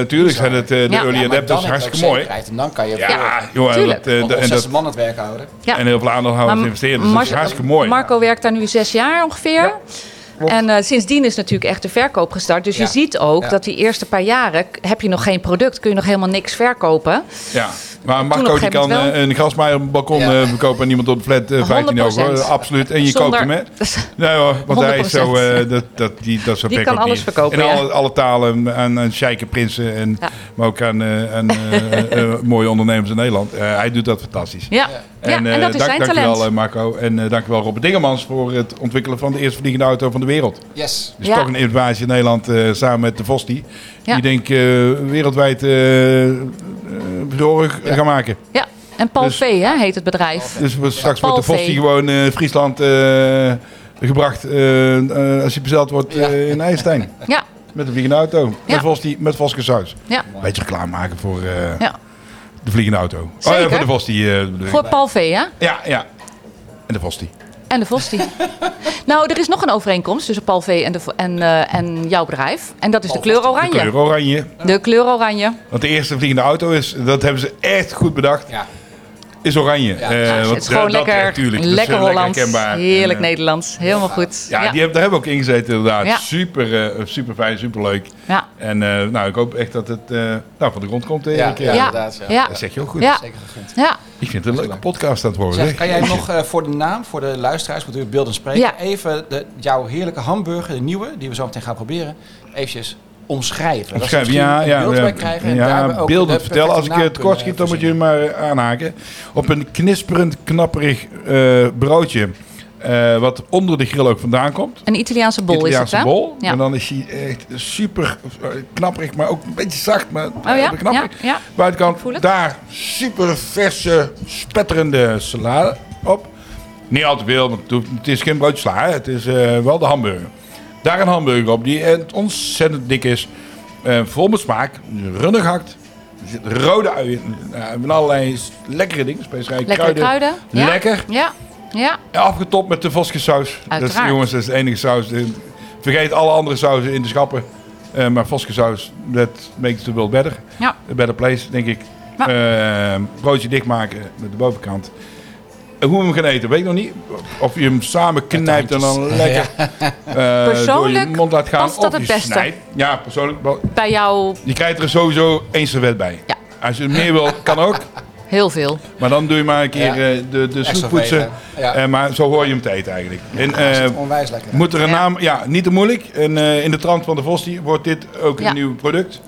[SPEAKER 3] tuurlijk zijn het eh, de
[SPEAKER 4] Ja,
[SPEAKER 3] early
[SPEAKER 4] ja,
[SPEAKER 1] maar dan
[SPEAKER 3] adapters,
[SPEAKER 1] heb je
[SPEAKER 3] hartstikke
[SPEAKER 1] ook
[SPEAKER 3] mooi.
[SPEAKER 1] zekerheid En dan kan je voor-
[SPEAKER 3] Ja, joh, en dat,
[SPEAKER 4] Tuurlijk.
[SPEAKER 3] eh,
[SPEAKER 1] voor
[SPEAKER 3] dat- en
[SPEAKER 1] zes
[SPEAKER 3] dat,
[SPEAKER 1] man het werk houden.
[SPEAKER 4] Ja.
[SPEAKER 3] en heel veel aandeelhouders investeren. Dus dat is
[SPEAKER 4] Mar-
[SPEAKER 3] hartstikke mooi.
[SPEAKER 4] Marco werkt daar nu zes jaar ongeveer. en eh, sindsdien is natuurlijk echt de verkoop gestart. Dus
[SPEAKER 1] Ja.
[SPEAKER 4] je ziet ook
[SPEAKER 1] Ja.
[SPEAKER 4] dat die eerste paar jaren k- heb je nog geen product, kun je nog helemaal niks verkopen.
[SPEAKER 3] Ja. Maar
[SPEAKER 4] op
[SPEAKER 3] Marco
[SPEAKER 4] een
[SPEAKER 3] die
[SPEAKER 4] gegeven
[SPEAKER 3] kan
[SPEAKER 4] moment
[SPEAKER 3] eh, een gasmaaier op het balkon
[SPEAKER 1] Ja.
[SPEAKER 3] eh, verkopen en iemand op de flat eh, 15 euro. hoor.
[SPEAKER 4] 100%.
[SPEAKER 3] Absoluut. En je koopt
[SPEAKER 4] <laughs>
[SPEAKER 3] hem, hè? Nee hoor, want hij is zo... eh, dat, dat, die, dat is zo
[SPEAKER 4] Die
[SPEAKER 3] gek
[SPEAKER 4] kan
[SPEAKER 3] ook
[SPEAKER 4] alles
[SPEAKER 3] niet.
[SPEAKER 4] verkopen,
[SPEAKER 3] In
[SPEAKER 4] ja.
[SPEAKER 3] alle, alle talen, aan, aan sjeiken prinsen, en,
[SPEAKER 4] Ja.
[SPEAKER 3] maar ook aan, eh, aan
[SPEAKER 4] <laughs>
[SPEAKER 3] eh, eh, mooie ondernemers in Nederland. Eh, hij doet dat fantastisch.
[SPEAKER 4] Ja. Ja, en,
[SPEAKER 3] eh,
[SPEAKER 4] dat is
[SPEAKER 3] dank-
[SPEAKER 4] zijn
[SPEAKER 3] Dankjewel
[SPEAKER 4] talent.
[SPEAKER 3] eh, Marco en eh, dankjewel Robert Dingemans voor het ontwikkelen van de eerste vliegende auto van de wereld.
[SPEAKER 1] Yes.
[SPEAKER 3] Dus
[SPEAKER 4] Ja.
[SPEAKER 3] toch een innovatie in Nederland eh, samen met de Vosti.
[SPEAKER 4] Ja.
[SPEAKER 3] Die denk ik eh, wereldwijd eh eh, verhorig gaan maken.
[SPEAKER 4] ja. En Paul
[SPEAKER 3] Dus-
[SPEAKER 4] V hè, heet het bedrijf.
[SPEAKER 3] Dus we straks wordt de
[SPEAKER 4] Palvee.
[SPEAKER 3] Vosti gewoon eh, Friesland eh, gebracht eh, eh, als hij bezeld wordt
[SPEAKER 1] Ja.
[SPEAKER 3] eh, in IJstein.
[SPEAKER 4] Ja,
[SPEAKER 3] Met een vliegende auto.
[SPEAKER 4] Ja.
[SPEAKER 3] Met Vosti, met Voskesuis.
[SPEAKER 4] ja,
[SPEAKER 3] Een beetje reclame maken voor eh,
[SPEAKER 4] ja.
[SPEAKER 3] de vliegende auto. Oh, ja,
[SPEAKER 4] Zeker.
[SPEAKER 3] voor de Vosti. eh, bedoel ik.
[SPEAKER 4] Voor Paul V, hè?
[SPEAKER 3] Ja, ja. En de Vosti.
[SPEAKER 4] En de
[SPEAKER 3] <laughs>
[SPEAKER 4] Vosti. nou, er is nog een overeenkomst tussen Paul V en, de, vo- en, eh, en jouw bedrijf. En dat is de kleur
[SPEAKER 3] De
[SPEAKER 4] oranje.
[SPEAKER 3] kleur oranje.
[SPEAKER 4] De kleur oranje.
[SPEAKER 3] Want de eerste vliegende auto is, dat hebben ze echt goed bedacht,
[SPEAKER 1] Ja.
[SPEAKER 3] is oranje. Eh,
[SPEAKER 4] Ja, het
[SPEAKER 3] want
[SPEAKER 4] is gewoon
[SPEAKER 3] dat- dat
[SPEAKER 4] lekker,
[SPEAKER 3] echt, tuurlijk. Dat is,
[SPEAKER 4] lekker
[SPEAKER 3] eh,
[SPEAKER 4] Hollands.
[SPEAKER 3] herkenbaar.
[SPEAKER 4] Heerlijk
[SPEAKER 3] En, eh,
[SPEAKER 4] Nederlands. Helemaal goed.
[SPEAKER 3] Ja, Die heb, daar hebben we ook in gezeten inderdaad.
[SPEAKER 4] Ja.
[SPEAKER 3] Super, eh, super fijn, super leuk.
[SPEAKER 4] Ja.
[SPEAKER 3] En eh, nou, ik hoop echt dat het eh, nou, van de grond komt. eh,
[SPEAKER 1] Ja,
[SPEAKER 3] een keer.
[SPEAKER 1] ja.
[SPEAKER 4] Ja,
[SPEAKER 1] inderdaad, ja.
[SPEAKER 4] ja.
[SPEAKER 3] Dat zeg je ook goed.
[SPEAKER 4] Ja.
[SPEAKER 1] Zeker gegund.
[SPEAKER 4] Ja.
[SPEAKER 3] Ik vind het een leuke podcast aan het worden.
[SPEAKER 1] Zeg,
[SPEAKER 3] zeg.
[SPEAKER 1] kan jij nog eh, voor de naam, voor de luisteraars, want u beelden spreken,
[SPEAKER 4] Ja.
[SPEAKER 1] even de, jouw heerlijke hamburger, de nieuwe, die we zo meteen gaan proberen, eventjes omschrijven. Dat ze
[SPEAKER 3] Schrijven, ja,
[SPEAKER 1] misschien
[SPEAKER 3] ja,
[SPEAKER 1] een beeld
[SPEAKER 3] ja,
[SPEAKER 1] bij krijgen en
[SPEAKER 3] ja,
[SPEAKER 1] daarbij ook
[SPEAKER 3] beelden
[SPEAKER 1] de
[SPEAKER 3] vertellen. Als ik eh,
[SPEAKER 1] perfecte
[SPEAKER 3] het
[SPEAKER 1] naam
[SPEAKER 3] kort schiet, dan moet je
[SPEAKER 1] kunnen
[SPEAKER 3] maar eh, aanhaken. Op een knisperend, knapperig eh, broodje, eh, wat onder de grill ook vandaan komt.
[SPEAKER 4] Een Italiaanse bol
[SPEAKER 3] Italiaanse
[SPEAKER 4] is het, hè?
[SPEAKER 3] bol.
[SPEAKER 4] Ja.
[SPEAKER 3] En dan is hij echt super eh, knapperig, maar ook een beetje zacht. Maar eh,
[SPEAKER 4] Oh ja? Ja,
[SPEAKER 3] knapperig.
[SPEAKER 4] ja.
[SPEAKER 3] Buitenkant,
[SPEAKER 4] voel het.
[SPEAKER 3] daar super verse, spetterende salade op. Niet al te veel, want het hoeft- het is geen broodje sla. hè. Het is eh, wel de hamburger. Daar een hamburger op die eh, ontzettend dik is. Eh, vol met smaak, runnig gehakt. Er zit rode uien in. Eh, met allerlei s- lekkere dingen. Specerijen,
[SPEAKER 4] Lekkere kruiden. Ja.
[SPEAKER 3] Lekker.
[SPEAKER 4] Ja. Ja.
[SPEAKER 3] Ja, Afgetopt met de Voskesaus. Dat is,
[SPEAKER 4] Uiteraard.
[SPEAKER 3] jongens, dat is de enige saus. Vergeet alle andere sauzen in de schappen. Eh, maar Voskesaus, that makes the world better.
[SPEAKER 4] Ja.
[SPEAKER 3] A better place, denk ik.
[SPEAKER 4] Ja.
[SPEAKER 3] Eh, broodje dichtmaken met de bovenkant. En hoe we hem gaan eten, weet ik nog niet. Of je hem samen knijpt en dan lekker eh, door je
[SPEAKER 4] Persoonlijk
[SPEAKER 3] mond laat gaan.
[SPEAKER 4] past
[SPEAKER 3] of
[SPEAKER 4] dat
[SPEAKER 3] je
[SPEAKER 4] het beste.
[SPEAKER 3] snijdt. Ja, persoonlijk. wel-
[SPEAKER 4] Bij jou
[SPEAKER 3] Je krijgt er sowieso één servet bij.
[SPEAKER 4] Ja.
[SPEAKER 3] Als je meer wil, kan ook.
[SPEAKER 4] heel veel.
[SPEAKER 3] Maar dan doe je maar een keer
[SPEAKER 1] Ja.
[SPEAKER 3] eh, de, de
[SPEAKER 1] Extra
[SPEAKER 3] snoep poetsen.
[SPEAKER 1] vegen, ja.
[SPEAKER 3] Eh, maar zo hoor je hem te eten eigenlijk. En,
[SPEAKER 1] verkopen.
[SPEAKER 3] eh,
[SPEAKER 1] Dat is onwijs lekker.
[SPEAKER 3] moet er een
[SPEAKER 4] Ja.
[SPEAKER 3] naam... Ja, niet te moeilijk. En eh, in de trant van de Vosti wordt dit ook een
[SPEAKER 4] Ja.
[SPEAKER 3] nieuw product.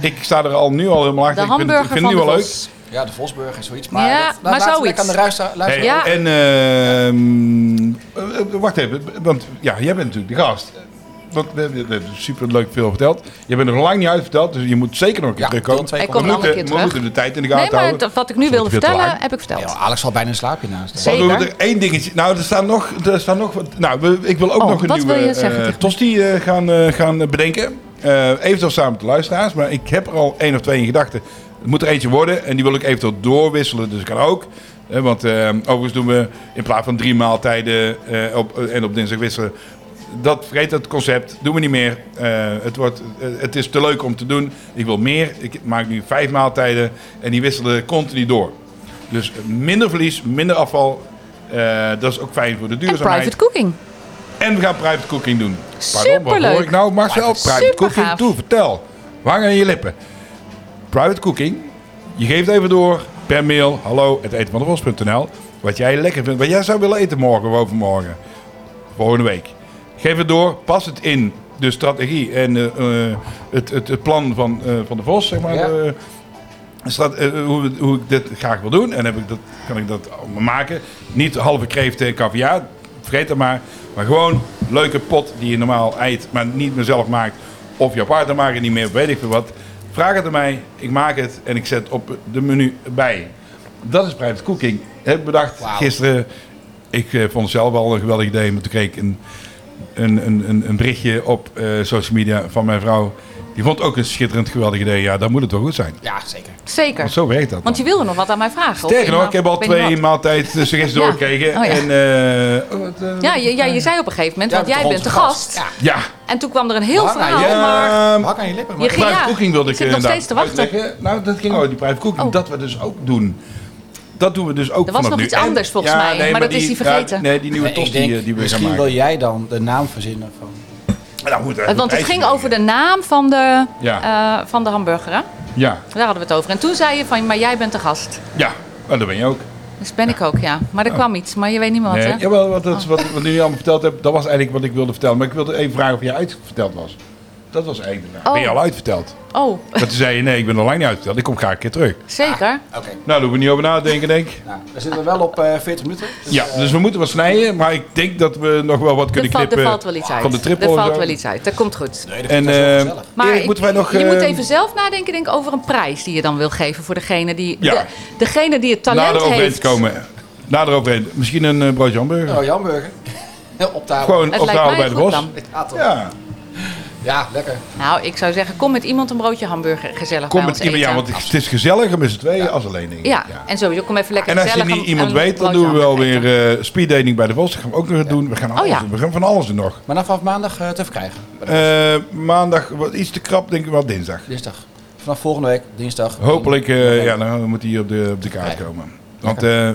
[SPEAKER 3] Ik sta er al nu al helemaal
[SPEAKER 4] De
[SPEAKER 3] achter. ik vind, het-
[SPEAKER 4] hamburger
[SPEAKER 3] ik vind
[SPEAKER 4] van
[SPEAKER 3] het nu
[SPEAKER 4] de
[SPEAKER 3] al leuk.
[SPEAKER 4] Vos.
[SPEAKER 1] Ja, de Vosburg en zoiets. Maar,
[SPEAKER 4] Ja,
[SPEAKER 1] dat,
[SPEAKER 4] maar
[SPEAKER 1] laten we
[SPEAKER 4] zoiets.
[SPEAKER 1] lekker aan de luister, luister
[SPEAKER 3] Hey,
[SPEAKER 4] Ja.
[SPEAKER 3] En ehm, eh, eh, wacht even, want ja, jij bent natuurlijk de gast. Want we hebben we hebben superleuk veel verteld. Je bent er nog lang niet uit verteld, dus je moet zeker nog een keer
[SPEAKER 1] Ja,
[SPEAKER 3] terugkomen.
[SPEAKER 1] deel twee
[SPEAKER 4] Ik komt kom
[SPEAKER 3] we
[SPEAKER 4] nog een
[SPEAKER 3] moeten,
[SPEAKER 4] keer
[SPEAKER 3] we
[SPEAKER 4] terug.
[SPEAKER 3] moeten de tijd in de gaten
[SPEAKER 4] Nee, maar
[SPEAKER 3] houden.
[SPEAKER 4] het- wat ik nu
[SPEAKER 3] Soms
[SPEAKER 4] wilde
[SPEAKER 3] wordt het weer te
[SPEAKER 4] vertellen,
[SPEAKER 3] lang.
[SPEAKER 4] heb ik verteld.
[SPEAKER 1] Ja, Alex valt bijna een slaapje naast.
[SPEAKER 4] Zeker.
[SPEAKER 3] Maar we hebben er één dingetje. Nou, er staan nog. Er staan nog wat, nou, we- ik wil ook
[SPEAKER 4] Oh,
[SPEAKER 3] nog een
[SPEAKER 4] wat
[SPEAKER 3] nieuwe
[SPEAKER 4] wil je zeggen
[SPEAKER 3] eh,
[SPEAKER 4] tegen
[SPEAKER 3] tosti eh, gaan, eh, gaan eh, bedenken. Eh, eventueel samen met de luisteraars. Maar ik heb er al één of twee in gedachten. Het moet er eentje worden. En die wil ik eventueel doorwisselen. Dus dat kan ook. Eh, want eh, overigens doen we in plaats van drie maaltijden eh, op, en op dinsdag wisselen. Dat vergeet dat concept. Doen we niet meer. Eh, het, wordt, eh, het is te leuk om te doen. Ik wil meer. Ik maak nu vijf maaltijden. En die wisselen continu door. Dus minder verlies, minder afval. Eh, dat is ook fijn voor de
[SPEAKER 4] En
[SPEAKER 3] duurzaamheid.
[SPEAKER 4] private cooking.
[SPEAKER 3] En we gaan private cooking doen. wat
[SPEAKER 4] Superleuk.
[SPEAKER 3] hoor ik nou Marcel? Private
[SPEAKER 4] Supergaaf.
[SPEAKER 3] cooking, doe, vertel. Hang aan je lippen. Private cooking. Je geeft even door per mail. Hallo, het Wat jij lekker vindt. Wat jij zou willen eten morgen of overmorgen. Volgende week. Geef het door. Pas het in de strategie en eh, eh, het, het, het plan van, eh, van de Vos, zeg maar.
[SPEAKER 1] Ja.
[SPEAKER 3] eh, Strat- eh, hoe, hoe ik dit graag wil doen. En heb ik dat, kan ik dat allemaal maken. Niet halve kreeft en caviar. Vergeet dat maar. Maar gewoon leuke pot die je normaal eet. Maar niet meer zelf maakt. Of jouw partner maakt het niet meer. Weet ik veel wat. Vraag het aan mij. Ik maak het. En ik zet op de menu bij. Dat is private cooking. Heb ik bedacht
[SPEAKER 1] Wauw.
[SPEAKER 3] gisteren. Ik eh, vond het zelf wel een geweldig idee. Maar toen kreeg ik een een, een, een, een berichtje op eh, social media van mijn vrouw. Je vond ook een schitterend geweldig idee. Ja, dan moet het wel goed zijn.
[SPEAKER 1] Ja, zeker.
[SPEAKER 4] Zeker.
[SPEAKER 3] Want zo werkt dat.
[SPEAKER 4] Want je
[SPEAKER 3] dan.
[SPEAKER 4] wilde nog wat aan mij vragen. of
[SPEAKER 3] Sterker nog,
[SPEAKER 4] nou-
[SPEAKER 3] ik heb al
[SPEAKER 4] weet niet
[SPEAKER 3] twee
[SPEAKER 4] wat.
[SPEAKER 3] maaltijd eh, suggesties
[SPEAKER 4] Ja.
[SPEAKER 3] doorgekregen.
[SPEAKER 4] Oh, ja.
[SPEAKER 3] En, eh, oh, wat, eh,
[SPEAKER 4] Ja, je, ja, je zei op een gegeven moment, want jij bent de gast.
[SPEAKER 3] ja.
[SPEAKER 4] En toen kwam er een heel
[SPEAKER 1] Ah,
[SPEAKER 4] verhaal,
[SPEAKER 3] Ja,
[SPEAKER 4] maar
[SPEAKER 3] Ehm,
[SPEAKER 1] Hak aan je lippen.
[SPEAKER 4] je
[SPEAKER 1] Maar...
[SPEAKER 4] ging
[SPEAKER 3] private
[SPEAKER 4] ja,
[SPEAKER 3] cooking wilde ik
[SPEAKER 4] zit nog
[SPEAKER 3] inderdaad
[SPEAKER 4] steeds te wachten.
[SPEAKER 3] uitleggen. Nou, dat ging over die private cooking.
[SPEAKER 4] Oh.
[SPEAKER 3] Dat we dus ook doen. Dat doen we dus ook
[SPEAKER 4] Er was
[SPEAKER 3] vanaf
[SPEAKER 4] nog
[SPEAKER 3] nu.
[SPEAKER 4] iets anders volgens mij, maar dat is die vergeten.
[SPEAKER 3] nee, die nieuwe
[SPEAKER 1] Nee,
[SPEAKER 3] tost
[SPEAKER 1] ik denk,
[SPEAKER 3] die, eh, die we gaan
[SPEAKER 1] misschien wil
[SPEAKER 3] maken.
[SPEAKER 1] jij dan de naam verzinnen van...
[SPEAKER 3] Nou, goed, eh,
[SPEAKER 4] Want het
[SPEAKER 3] ijsje
[SPEAKER 4] ging
[SPEAKER 3] maken.
[SPEAKER 4] over de naam van de,
[SPEAKER 3] Ja.
[SPEAKER 4] eh, van de hamburger, hè?
[SPEAKER 3] Ja,
[SPEAKER 4] Daar hadden we het over. En toen zei je van, maar jij bent de gast.
[SPEAKER 3] ja. En dat ben je ook.
[SPEAKER 4] Dus ben ik ook, ja. Maar er kwam iets, maar je weet niet meer wat,
[SPEAKER 3] Oh. Nee,
[SPEAKER 4] hè? Oh.
[SPEAKER 3] jawel, wat, dat, wat, wat jullie allemaal verteld hebben, dat was eigenlijk wat ik wilde vertellen. Maar ik wilde even vragen of jij uitverteld was. Dat was eigenlijk de vraag.
[SPEAKER 4] Oh.
[SPEAKER 3] Ben je al uitverteld?
[SPEAKER 4] Oh, <laughs>
[SPEAKER 3] Maar toen zei je, nee, ik ben al lang niet uitverteld. Ik kom graag een keer terug.
[SPEAKER 4] zeker.
[SPEAKER 1] Oké,
[SPEAKER 3] Nou, daar hoeven we niet over nadenken, denk ik.
[SPEAKER 1] nou, we zitten wel op eh 40 minuten. Dus,
[SPEAKER 3] Ja, dus we moeten wat snijden. Maar ik denk dat we nog wel wat
[SPEAKER 4] Er
[SPEAKER 3] kunnen
[SPEAKER 4] valt,
[SPEAKER 3] knippen.
[SPEAKER 4] er valt wel iets uit.
[SPEAKER 3] eh, Van de triple
[SPEAKER 4] er
[SPEAKER 3] en
[SPEAKER 4] valt
[SPEAKER 3] zo.
[SPEAKER 4] wel iets uit. Dat komt goed.
[SPEAKER 3] En eh
[SPEAKER 4] Maar
[SPEAKER 3] Erik,
[SPEAKER 4] ik-
[SPEAKER 3] moeten wij nog...
[SPEAKER 4] je
[SPEAKER 3] eh,
[SPEAKER 4] moet even zelf nadenken denk ik, over een prijs die je dan wil geven voor degene die,
[SPEAKER 3] Ja.
[SPEAKER 4] de- degene die het
[SPEAKER 3] nader
[SPEAKER 4] talent
[SPEAKER 3] overheen
[SPEAKER 4] heeft.
[SPEAKER 3] komen. Nader overheen. Misschien een eh, broodje hamburger.
[SPEAKER 1] Oh, Jamburger. <laughs> op tafel.
[SPEAKER 3] Gewoon
[SPEAKER 4] Het
[SPEAKER 3] op de
[SPEAKER 4] lijkt
[SPEAKER 3] oude
[SPEAKER 4] mij
[SPEAKER 3] bij de
[SPEAKER 4] goed
[SPEAKER 3] bos.
[SPEAKER 4] dan.
[SPEAKER 1] Ja, toch?
[SPEAKER 3] Ja,
[SPEAKER 1] Ja, lekker.
[SPEAKER 4] Nou, ik zou zeggen, kom met iemand een broodje hamburger gezellig
[SPEAKER 3] kom
[SPEAKER 4] bij
[SPEAKER 3] met
[SPEAKER 4] ons eten.
[SPEAKER 3] iemand. Ja, want het is gezelliger met z'n tweeën als alleen één.
[SPEAKER 4] Ja, en sowieso kom even lekker
[SPEAKER 3] En als je
[SPEAKER 4] gezellig
[SPEAKER 3] niet
[SPEAKER 4] een-
[SPEAKER 3] iemand
[SPEAKER 4] een
[SPEAKER 3] weet, dan
[SPEAKER 4] broodje
[SPEAKER 3] doen we wel
[SPEAKER 4] hamburger
[SPEAKER 3] weer
[SPEAKER 4] eten.
[SPEAKER 3] eh speeddating bij de Vos. Dat gaan we ook nog doen. We gaan, alles,
[SPEAKER 4] ja.
[SPEAKER 3] doen. we gaan van alles doen nog.
[SPEAKER 1] Maar dan vanaf maandag eh, te verkrijgen.
[SPEAKER 3] Eh, maandag, wat iets te krap, denk ik wel dinsdag.
[SPEAKER 1] Dinsdag. Vanaf volgende week, dinsdag.
[SPEAKER 3] Hopelijk, eh, ja, dan moet hij op de, op de kaart komen. Want eh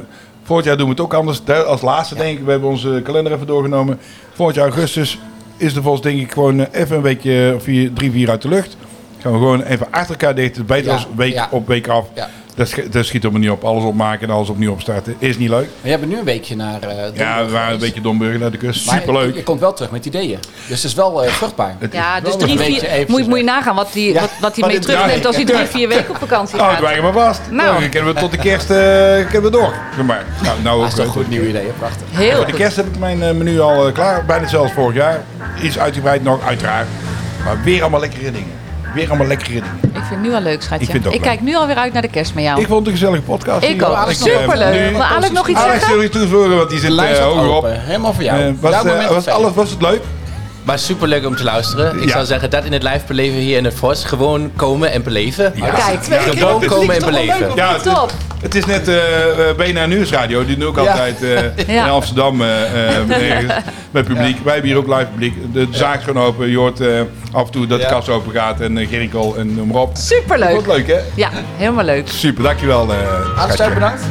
[SPEAKER 3] volgend jaar doen we het ook anders. Daar- Als laatste, denk ik, we hebben onze kalender even doorgenomen. Volgend jaar augustus is de Vos, denk ik, gewoon eh, even een weekje of vier, drie, vier uit de lucht. Gaan we gewoon even achter elkaar dicht. Beter
[SPEAKER 1] Ja,
[SPEAKER 3] als week
[SPEAKER 1] ja.
[SPEAKER 3] op week af.
[SPEAKER 1] Ja.
[SPEAKER 3] Dat, sch- dat schiet op niet op. Alles opmaken en alles opnieuw opstarten. Is niet leuk.
[SPEAKER 1] Maar jij bent nu een weekje naar eh Donburg
[SPEAKER 3] Ja, we waren een
[SPEAKER 1] geweest.
[SPEAKER 3] beetje domburger naar de kust.
[SPEAKER 1] Maar
[SPEAKER 3] Superleuk.
[SPEAKER 1] Je, je komt wel terug met ideeën. Dus het is wel eh, vruchtbaar.
[SPEAKER 3] Het is
[SPEAKER 4] Ja,
[SPEAKER 3] wel
[SPEAKER 4] dus
[SPEAKER 3] leuk.
[SPEAKER 4] drie,
[SPEAKER 1] Een beetje
[SPEAKER 4] vier,
[SPEAKER 1] eventjes
[SPEAKER 4] moet, je- moet je
[SPEAKER 1] weg.
[SPEAKER 4] nadat wat die,
[SPEAKER 1] Ja,
[SPEAKER 4] wat, wat die
[SPEAKER 3] maar
[SPEAKER 4] mee
[SPEAKER 3] dit-
[SPEAKER 4] terugneemt
[SPEAKER 3] ja,
[SPEAKER 4] als hij
[SPEAKER 3] ik-
[SPEAKER 4] drie, vier weken op vakantie
[SPEAKER 3] Oh, het
[SPEAKER 4] gaat.
[SPEAKER 3] wijgen maar vast.
[SPEAKER 4] Nou.
[SPEAKER 3] Nou. Dan kunnen we tot de kerst, eh kunnen we door. Maar, nou, nou
[SPEAKER 1] Dat Ah, is toch een
[SPEAKER 3] ook, eh,
[SPEAKER 1] goed nieuw idee, hè? prachtig.
[SPEAKER 4] Heel
[SPEAKER 3] Voor de
[SPEAKER 4] goed.
[SPEAKER 3] kerst heb ik mijn eh, menu al eh, klaar. Bijna zelfs vorig jaar. Iets uitgebreid nog, uiteraard. Maar weer allemaal lekkere dingen. Weer allemaal lekkere dingen.
[SPEAKER 4] Ik vind het nu al leuk, schatje.
[SPEAKER 3] Ik vind het ook
[SPEAKER 4] ik kijk nu alweer uit naar de kerst met jou.
[SPEAKER 3] Ik vond het een gezellige podcast.
[SPEAKER 4] Ik ook. Superleuk. Wil Alex nog iets
[SPEAKER 3] eh, Alex,
[SPEAKER 4] zeggen?
[SPEAKER 3] wil je toevoegen? Want die zit
[SPEAKER 1] De lijn
[SPEAKER 3] eh,
[SPEAKER 1] staat
[SPEAKER 3] hoger op.
[SPEAKER 1] open. Nou, Helemaal voor jou.
[SPEAKER 3] Eh, was,
[SPEAKER 1] Jouw
[SPEAKER 3] eh,
[SPEAKER 1] moment
[SPEAKER 3] was,
[SPEAKER 1] is
[SPEAKER 3] alles, was het leuk?
[SPEAKER 6] Maar superleuk om te luisteren. Ik
[SPEAKER 3] Ja.
[SPEAKER 6] zou zeggen, dat in het live beleven hier in het Vos. Gewoon komen en beleven.
[SPEAKER 4] Kijk,
[SPEAKER 6] Gewoon komen en beleven.
[SPEAKER 3] Ja, het,
[SPEAKER 4] Top.
[SPEAKER 3] het is net eh eh, BNR Nieuwsradio. Die doen ook
[SPEAKER 1] Ja.
[SPEAKER 3] altijd eh,
[SPEAKER 4] <laughs> Ja.
[SPEAKER 3] in Amsterdam eh,
[SPEAKER 4] <laughs>
[SPEAKER 3] eh, ergens met publiek. Wij hebben hier ook live publiek. De zaak is gewoon open. Je hoort eh, af en toe dat de
[SPEAKER 1] Ja.
[SPEAKER 3] kast open gaat. En eh, Gerinkel en noem maar op. Wat
[SPEAKER 4] Superleuk.
[SPEAKER 3] leuk hè?
[SPEAKER 4] Ja, helemaal leuk.
[SPEAKER 3] Super, dankjewel. eh
[SPEAKER 1] Alex,
[SPEAKER 3] schatje.
[SPEAKER 1] jij bedankt.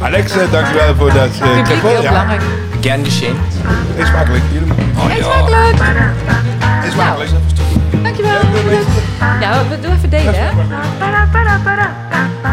[SPEAKER 3] Alex, eh, dankjewel voor dat. eh,
[SPEAKER 4] Publiek heel
[SPEAKER 3] ja,
[SPEAKER 4] belangrijk.
[SPEAKER 6] Gern geschehen.
[SPEAKER 3] Is makkelijk. Jullie moeten-
[SPEAKER 4] Hey, smakelijk.
[SPEAKER 3] Is makkelijk.
[SPEAKER 4] nou. Dankjewel. Ja, we doen even delen, hè?
[SPEAKER 2] ba ba ba ba ba ba